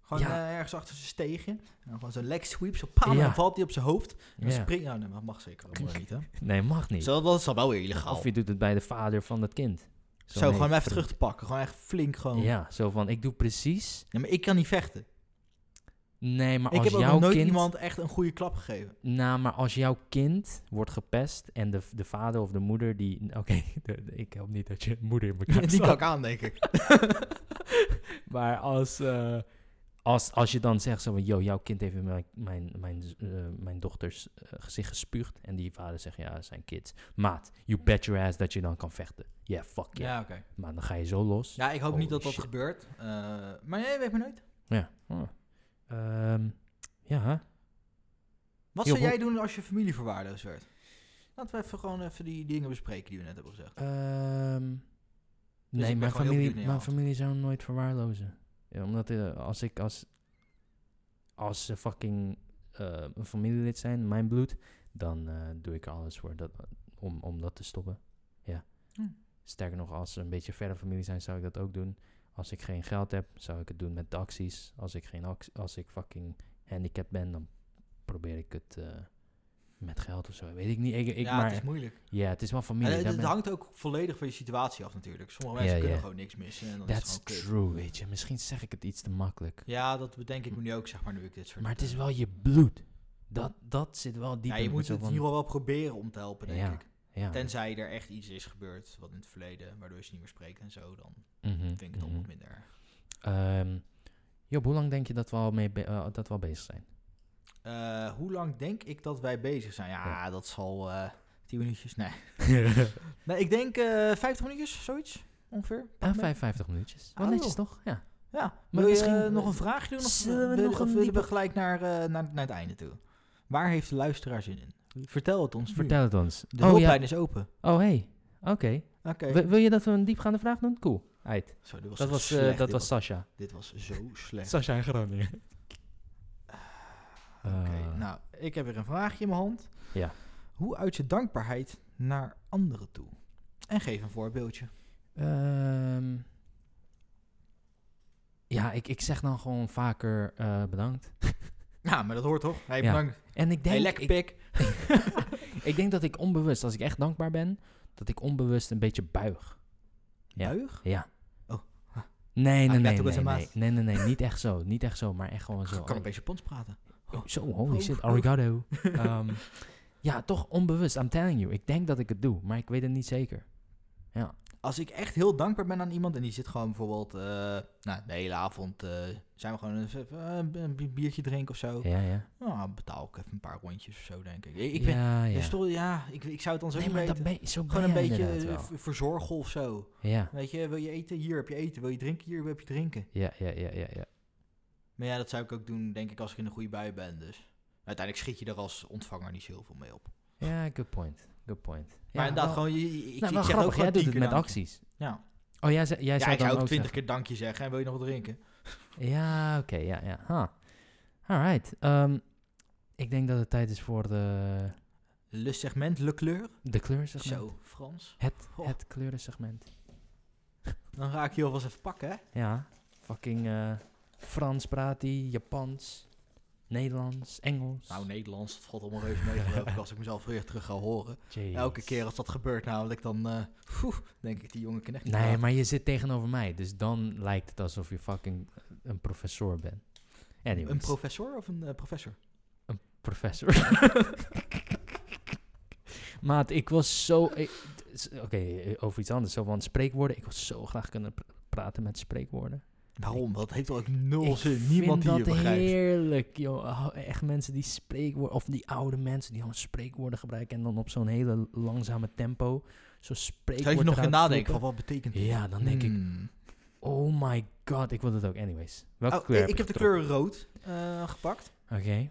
Speaker 1: Gewoon
Speaker 2: Ja.
Speaker 1: eh, ergens achter zijn steegje. En dan gewoon zo'n leg sweep, zo paam,
Speaker 2: Ja.
Speaker 1: en dan valt hij op zijn hoofd. En dan
Speaker 2: Ja.
Speaker 1: springt... Nou, nee, maar dat mag zeker allemaal niet, hè.
Speaker 2: Nee, mag niet.
Speaker 1: Zo, dat is dan wel weer illegaal.
Speaker 2: Of je doet het bij de vader van dat kind.
Speaker 1: zo,
Speaker 2: nee,
Speaker 1: gewoon hem even
Speaker 2: vriend.
Speaker 1: terug te pakken. Gewoon echt flink gewoon. Ja.
Speaker 2: Ja, zo van, ik doe precies.
Speaker 1: maar ik kan niet vechten.
Speaker 2: Nee, maar
Speaker 1: ik
Speaker 2: als
Speaker 1: heb ook
Speaker 2: jouw
Speaker 1: nog nooit
Speaker 2: kind...
Speaker 1: iemand echt een goede klap
Speaker 2: *laughs*
Speaker 1: gegeven.
Speaker 2: Nou, maar als jouw kind wordt gepest en de, de vader of de moeder die... Oké, *laughs* de- de- ik hoop niet dat je *laughs* moeder in elkaar
Speaker 1: Die
Speaker 2: slaat.
Speaker 1: kan ik aan, denk
Speaker 2: *laughs*
Speaker 1: ik.
Speaker 2: Maar als, eh, als, als je dan zegt zo van... Yo, jouw kind heeft in mijn, mijn, mijn, z- eh, mijn dochters eh, gezicht gespuugd. En die vader zegt, ja, het zijn kids. Maat, you bet your ass dat je dan kan vechten. Yeah, fuck yeah.
Speaker 1: Ja, oké.
Speaker 2: Maar dan ga je zo los.
Speaker 1: Ja, ik hoop
Speaker 2: Holy
Speaker 1: niet dat dat
Speaker 2: shit.
Speaker 1: gebeurt. Eh, maar nee, weet maar nooit.
Speaker 2: Ja. Oh. Ehm, ja.
Speaker 1: Wat
Speaker 2: Heel
Speaker 1: zou jij
Speaker 2: goed.
Speaker 1: doen als je familie verwaarloosd werd? Laten we even gewoon even die dingen bespreken die we net hebben gezegd. Dus
Speaker 2: Ehm,
Speaker 1: ik
Speaker 2: nee,
Speaker 1: ben gewoon heel benieuwd
Speaker 2: mijn
Speaker 1: naar
Speaker 2: familie,
Speaker 1: je
Speaker 2: mijn
Speaker 1: antwoord.
Speaker 2: familie zou hem nooit verwaarlozen. Ja, omdat eh, als ik als, als ze fucking eh, een familielid zijn, mijn bloed, dan eh, doe ik er alles voor dat, om, om dat te stoppen. Ja.
Speaker 1: Hm.
Speaker 2: Sterker nog, als ze een beetje verder familie zijn, zou ik dat ook doen. Als ik geen geld heb, zou ik het doen met taxis. Als ik, geen ac- als ik fucking handicapped ben, dan probeer ik het eh, met geld of zo. Weet ik niet. Ik, ik,
Speaker 1: ja,
Speaker 2: maar,
Speaker 1: het is moeilijk.
Speaker 2: ja, het is wel familie.
Speaker 1: En Eh, het,
Speaker 2: daar
Speaker 1: het
Speaker 2: ben-
Speaker 1: hangt ook volledig van je situatie af natuurlijk. Sommige
Speaker 2: Ja,
Speaker 1: mensen kunnen
Speaker 2: ja.
Speaker 1: gewoon niks missen en dan is
Speaker 2: That's
Speaker 1: het gewoon kut.
Speaker 2: true, weet je. Misschien zeg ik het iets te makkelijk.
Speaker 1: Ja, dat bedenk ik me nu ook, zeg maar, nu ik dit soort...
Speaker 2: Maar het is wel je bloed. Dat, dat zit wel diep
Speaker 1: ja, je
Speaker 2: in
Speaker 1: moet
Speaker 2: zo
Speaker 1: het in
Speaker 2: van-
Speaker 1: ieder geval wel proberen om te helpen, denk
Speaker 2: Ja.
Speaker 1: ik.
Speaker 2: Ja.
Speaker 1: Tenzij er echt iets is gebeurd, wat in het verleden, waardoor ze niet meer spreken en zo, dan
Speaker 2: Mhm,
Speaker 1: vind ik het allemaal
Speaker 2: mhm.
Speaker 1: minder erg.
Speaker 2: Ehm, Job, hoe lang denk je dat we al, mee be- eh, dat we al bezig zijn?
Speaker 1: Eh, hoe lang denk ik dat wij bezig zijn? Ja,
Speaker 2: Ja.
Speaker 1: dat zal eh tien minuutjes,
Speaker 2: *laughs*
Speaker 1: nee. nee ik denk eh 50 minuutjes, zoiets, ongeveer.
Speaker 2: Ah, 55 minuutjes. Wel
Speaker 1: Oh,
Speaker 2: netjes
Speaker 1: joh.
Speaker 2: toch? Ja.
Speaker 1: Ja,
Speaker 2: Maar
Speaker 1: wil je
Speaker 2: misschien-
Speaker 1: eh, nog een vraagje doen? Of
Speaker 2: Zullen we
Speaker 1: wil-
Speaker 2: nog
Speaker 1: of
Speaker 2: een
Speaker 1: willen we
Speaker 2: diepe-
Speaker 1: gelijk naar, eh, naar, naar het einde toe? Waar heeft de luisteraar zin in? Vertel het ons nu.
Speaker 2: Vertel het ons.
Speaker 1: De
Speaker 2: oh
Speaker 1: hulplijn
Speaker 2: ja.
Speaker 1: is open.
Speaker 2: Oh hey. Oké.
Speaker 1: Oké.
Speaker 2: Wil- Wil je dat we een diepgaande vraag doen? Cool. Uit.
Speaker 1: Zo, dit was,
Speaker 2: Dat
Speaker 1: echt
Speaker 2: was, eh,
Speaker 1: slecht,
Speaker 2: dat
Speaker 1: dit
Speaker 2: was Sasha.
Speaker 1: Dit was zo slecht.
Speaker 2: Sasha in Groningen.
Speaker 1: Oké,
Speaker 2: Eh,
Speaker 1: nou, ik heb weer een vraagje in mijn hand.
Speaker 2: Ja.
Speaker 1: Hoe uit je dankbaarheid naar anderen toe? En geef een voorbeeldje.
Speaker 2: Ehm, ja, ik, ik zeg dan gewoon vaker eh, bedankt.
Speaker 1: Nou, maar dat hoort toch? Hey,
Speaker 2: Ja.
Speaker 1: bedankt.
Speaker 2: En ik denk,
Speaker 1: Hey, lekker
Speaker 2: ik,
Speaker 1: pik.
Speaker 2: *laughs*
Speaker 1: *laughs*
Speaker 2: ik denk dat ik onbewust, als ik echt dankbaar ben, dat ik onbewust een beetje buig. Ja.
Speaker 1: Buig?
Speaker 2: Ja.
Speaker 1: Oh.
Speaker 2: Nee, nee,
Speaker 1: Ah,
Speaker 2: nee,
Speaker 1: net ook
Speaker 2: nee,
Speaker 1: als een
Speaker 2: nee,
Speaker 1: maat.
Speaker 2: nee, nee, nee, niet echt zo, niet echt zo, maar echt gewoon zo.
Speaker 1: Ik kan een beetje Japans praten.
Speaker 2: Oh, Zo, holy
Speaker 1: Oh,
Speaker 2: shit,
Speaker 1: oh.
Speaker 2: arigato. Ehm, ja, toch onbewust, I'm telling you. Ik denk dat ik het doe, maar ik weet het niet zeker.
Speaker 1: Als ik echt heel dankbaar ben aan iemand en die zit gewoon bijvoorbeeld... eh, nou, de hele avond eh, zijn we gewoon een, eh, een bi- biertje drinken of zo.
Speaker 2: Ja, ja.
Speaker 1: Nou, betaal ik even een paar rondjes of zo, denk ik. Ik, ik ben...
Speaker 2: ja, ja.
Speaker 1: Ja, stel- ja ik, ik zou het dan zo
Speaker 2: Nee,
Speaker 1: niet
Speaker 2: maar dat
Speaker 1: weten.
Speaker 2: ben, zo
Speaker 1: Gewoon
Speaker 2: ben
Speaker 1: een
Speaker 2: jij
Speaker 1: beetje
Speaker 2: inderdaad
Speaker 1: eh,
Speaker 2: wel.
Speaker 1: v- verzorgen of zo.
Speaker 2: Ja,
Speaker 1: Weet je, wil je eten? Hier heb je eten. Wil je drinken? Hier heb je drinken.
Speaker 2: ja, ja, ja, ja. ja.
Speaker 1: Maar ja, dat zou ik ook doen, denk ik, als ik in een goede bui ben. Dus uiteindelijk schiet je er als ontvanger niet zo heel veel mee op.
Speaker 2: Ja, good point. Good point. Ja,
Speaker 1: maar inderdaad,
Speaker 2: wel-
Speaker 1: gewoon, je- je- ik,
Speaker 2: nou,
Speaker 1: ik
Speaker 2: wel
Speaker 1: zeg
Speaker 2: grappig,
Speaker 1: ook gewoon
Speaker 2: jij doet
Speaker 1: tien
Speaker 2: het
Speaker 1: keer
Speaker 2: met
Speaker 1: dankje.
Speaker 2: acties.
Speaker 1: Ja,
Speaker 2: Oh, jij, ze- jij
Speaker 1: ja
Speaker 2: zou
Speaker 1: ik
Speaker 2: dan
Speaker 1: zou
Speaker 2: ook
Speaker 1: ook twintig
Speaker 2: zeggen-
Speaker 1: keer dankje zeggen. En wil je nog wat drinken?
Speaker 2: Ja, oké, ja, ja. Ha. Alright. ehm, ik denk dat het tijd is voor de,
Speaker 1: Le segment, le kleur.
Speaker 2: de kleurensegment.
Speaker 1: Zo, Oh. Frans.
Speaker 2: Het,
Speaker 1: Goh.
Speaker 2: het kleurensegment.
Speaker 1: Dan ga ik je alvast even pakken, hè?
Speaker 2: Ja, fucking eh, Frans praat die, Japans, Nederlands, Engels.
Speaker 1: Nou, Nederlands, dat valt allemaal reuze mee, geloof *laughs* ik, als ik mezelf weer terug ga horen.
Speaker 2: Jeez.
Speaker 1: Elke keer als dat gebeurt namelijk, dan eh, poeh, denk ik, die jongen kan echt niet
Speaker 2: Nee,
Speaker 1: praten.
Speaker 2: maar je zit tegenover mij, dus dan lijkt het alsof je fucking eh, een professor bent. Anyways,
Speaker 1: Een professor of een eh, professor?
Speaker 2: professor. *laughs* Maat, ik was zo... ik- t- s- Oké, eh, over iets anders. Zo van spreekwoorden. Ik wil zo graag kunnen pr- praten met spreekwoorden.
Speaker 1: Waarom? Dat heeft toch ook nul
Speaker 2: ik
Speaker 1: zin. Niemand die
Speaker 2: vind
Speaker 1: je
Speaker 2: dat
Speaker 1: begrijpt.
Speaker 2: heerlijk, joh. Oh, Echt mensen die spreekwoorden... Of die oude mensen die gewoon spreekwoorden gebruiken... en dan op zo'n hele langzame tempo... zo'n spreekwoord
Speaker 1: Zou je nog in
Speaker 2: eruit
Speaker 1: nadenken van
Speaker 2: vloepen.
Speaker 1: wat betekent dit?
Speaker 2: Ja, dan denk ik...
Speaker 1: Hmm.
Speaker 2: Oh my god, ik wil dat ook. Anyways, welke
Speaker 1: Oh,
Speaker 2: kleur
Speaker 1: ik, ik heb de
Speaker 2: getrokken?
Speaker 1: kleur rood eh, gepakt.
Speaker 2: Oké.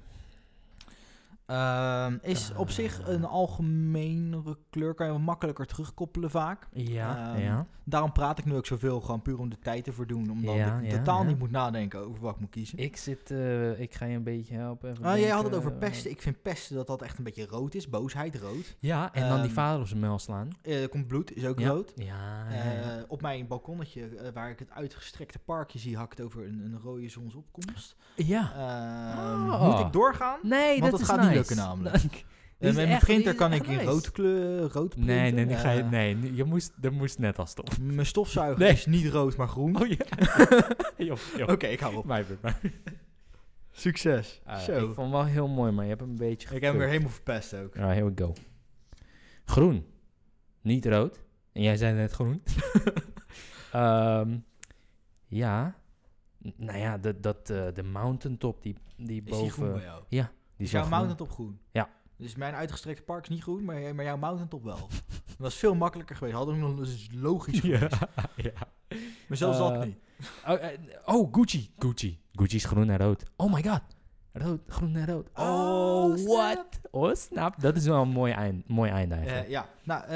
Speaker 1: Ehm, is op zich een
Speaker 2: Ah.
Speaker 1: algemenere kleur, kan je wat makkelijker terugkoppelen vaak.
Speaker 2: Ja,
Speaker 1: Ehm,
Speaker 2: ja.
Speaker 1: Daarom praat ik nu ook zoveel, gewoon puur om de tijd te verdoen. Omdat
Speaker 2: Ja,
Speaker 1: ik
Speaker 2: ja,
Speaker 1: totaal
Speaker 2: ja.
Speaker 1: niet moet nadenken over wat ik moet kiezen.
Speaker 2: Ik zit... eh, ik ga je een beetje helpen. even
Speaker 1: Ah, jij had het
Speaker 2: denken,
Speaker 1: over
Speaker 2: eh,
Speaker 1: pesten. Ik vind pesten dat dat echt een beetje rood is. Boosheid, rood.
Speaker 2: Ja, en dan die
Speaker 1: Ehm,
Speaker 2: vader op zijn muil slaan.
Speaker 1: Eh, Er komt bloed, is ook
Speaker 2: Ja.
Speaker 1: rood.
Speaker 2: Ja, ja, ja.
Speaker 1: Eh, op mijn balkonnetje, eh, waar ik het uitgestrekte parkje zie, hakt over een, een rode zonsopkomst.
Speaker 2: Ja.
Speaker 1: Ehm,
Speaker 2: Oh.
Speaker 1: Moet ik doorgaan?
Speaker 2: Nee,
Speaker 1: Eh, Want
Speaker 2: dat
Speaker 1: dat
Speaker 2: is
Speaker 1: gaat
Speaker 2: nice.
Speaker 1: niet lukken namelijk. Eh,
Speaker 2: Die is
Speaker 1: met mijn
Speaker 2: echt- die
Speaker 1: printer
Speaker 2: is
Speaker 1: kan
Speaker 2: echt
Speaker 1: ik in
Speaker 2: nice.
Speaker 1: rood, kleur, rood printen.
Speaker 2: Nee, nee, nee, ga je,
Speaker 1: Eh,
Speaker 2: nee, nee, je moest, er moest net al stoppen. *laughs*
Speaker 1: Mijn stofzuiger
Speaker 2: Nee.
Speaker 1: is niet rood, maar groen.
Speaker 2: Oh ja. joh, joh.
Speaker 1: Oké, ik
Speaker 2: *laughs*
Speaker 1: hou op.
Speaker 2: Mijn beurt, mijn beurt.
Speaker 1: Succes.
Speaker 2: Ah,
Speaker 1: Zo.
Speaker 2: ik vond hem wel heel mooi, maar je hebt hem een beetje
Speaker 1: Ik heb hem weer
Speaker 2: geflirt.
Speaker 1: helemaal verpest ook.
Speaker 2: Alright, here we go. Groen. Niet rood. En jij zei net groen. *laughs* Ehm, ja. N- Nou ja, dat, dat eh, de mountaintop die, die
Speaker 1: Is die groen bij
Speaker 2: boven...
Speaker 1: jou?
Speaker 2: Die
Speaker 1: is jouw
Speaker 2: wel groen.
Speaker 1: mountaintop groen?
Speaker 2: Ja.
Speaker 1: Dus mijn uitgestrekte park is niet groen, maar, maar jouw mountaintop wel. *laughs* Dat was veel makkelijker geweest. Hadden we nog dat is logisch
Speaker 2: *laughs* Ja,
Speaker 1: geweest.
Speaker 2: ja.
Speaker 1: Maar zelfs
Speaker 2: Eh,
Speaker 1: dat niet.
Speaker 2: Oh, eh, oh, Gucci. Gucci. Gucci is groen en rood. Oh my god. Rood, groen en rood. Oh,
Speaker 1: Oh, snap.
Speaker 2: what? Oh, snap. Dat is wel een mooi, eind, mooi einde eigenlijk.
Speaker 1: Eh, ja, nou, eh,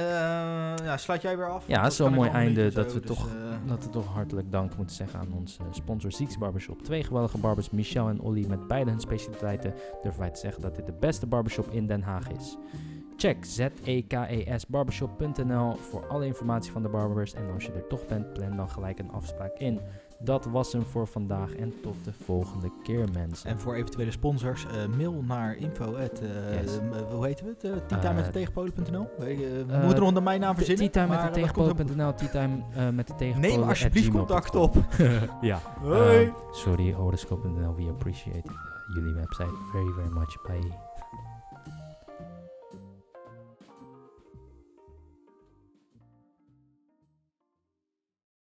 Speaker 1: ja, sluit jij weer af.
Speaker 2: ja,
Speaker 1: Dat
Speaker 2: zo'n
Speaker 1: kan ik
Speaker 2: mooi
Speaker 1: nog een
Speaker 2: einde
Speaker 1: beetje
Speaker 2: dat,
Speaker 1: zo,
Speaker 2: we
Speaker 1: dus,
Speaker 2: toch,
Speaker 1: eh,
Speaker 2: dat we toch hartelijk dank moeten zeggen aan onze sponsor Zieks Barbershop. Twee geweldige barbers, Michel en Olly, met beide hun specialiteiten. Durven wij te zeggen dat dit de beste barbershop in Den Haag is. Check E zekesbarbershop.nl voor alle informatie van de barbers. En als je er toch bent, plan dan gelijk een afspraak in. Dat was hem voor vandaag en tot de volgende keer mensen.
Speaker 1: En voor eventuele sponsors, eh, mail naar info. at, eh,
Speaker 2: Yes.
Speaker 1: m- hoe heet het? eh
Speaker 2: Eh,
Speaker 1: tegenpolen.nl? We eh, we
Speaker 2: eh,
Speaker 1: moeten er onder mijn naam verzinnen.
Speaker 2: Teatime met
Speaker 1: maar
Speaker 2: de
Speaker 1: dat komt helemaal
Speaker 2: tegenpolen.nl, teatime eh, met de
Speaker 1: goed.
Speaker 2: tegenpolen.
Speaker 1: Neem
Speaker 2: at
Speaker 1: alsjeblieft
Speaker 2: gmail punt
Speaker 1: contact
Speaker 2: com. Eh,
Speaker 1: op.
Speaker 2: *laughs* ja.
Speaker 1: Hoi.
Speaker 2: Um, sorry, horoscope.nl. We appreciate uh, jullie website very, very much. Bye.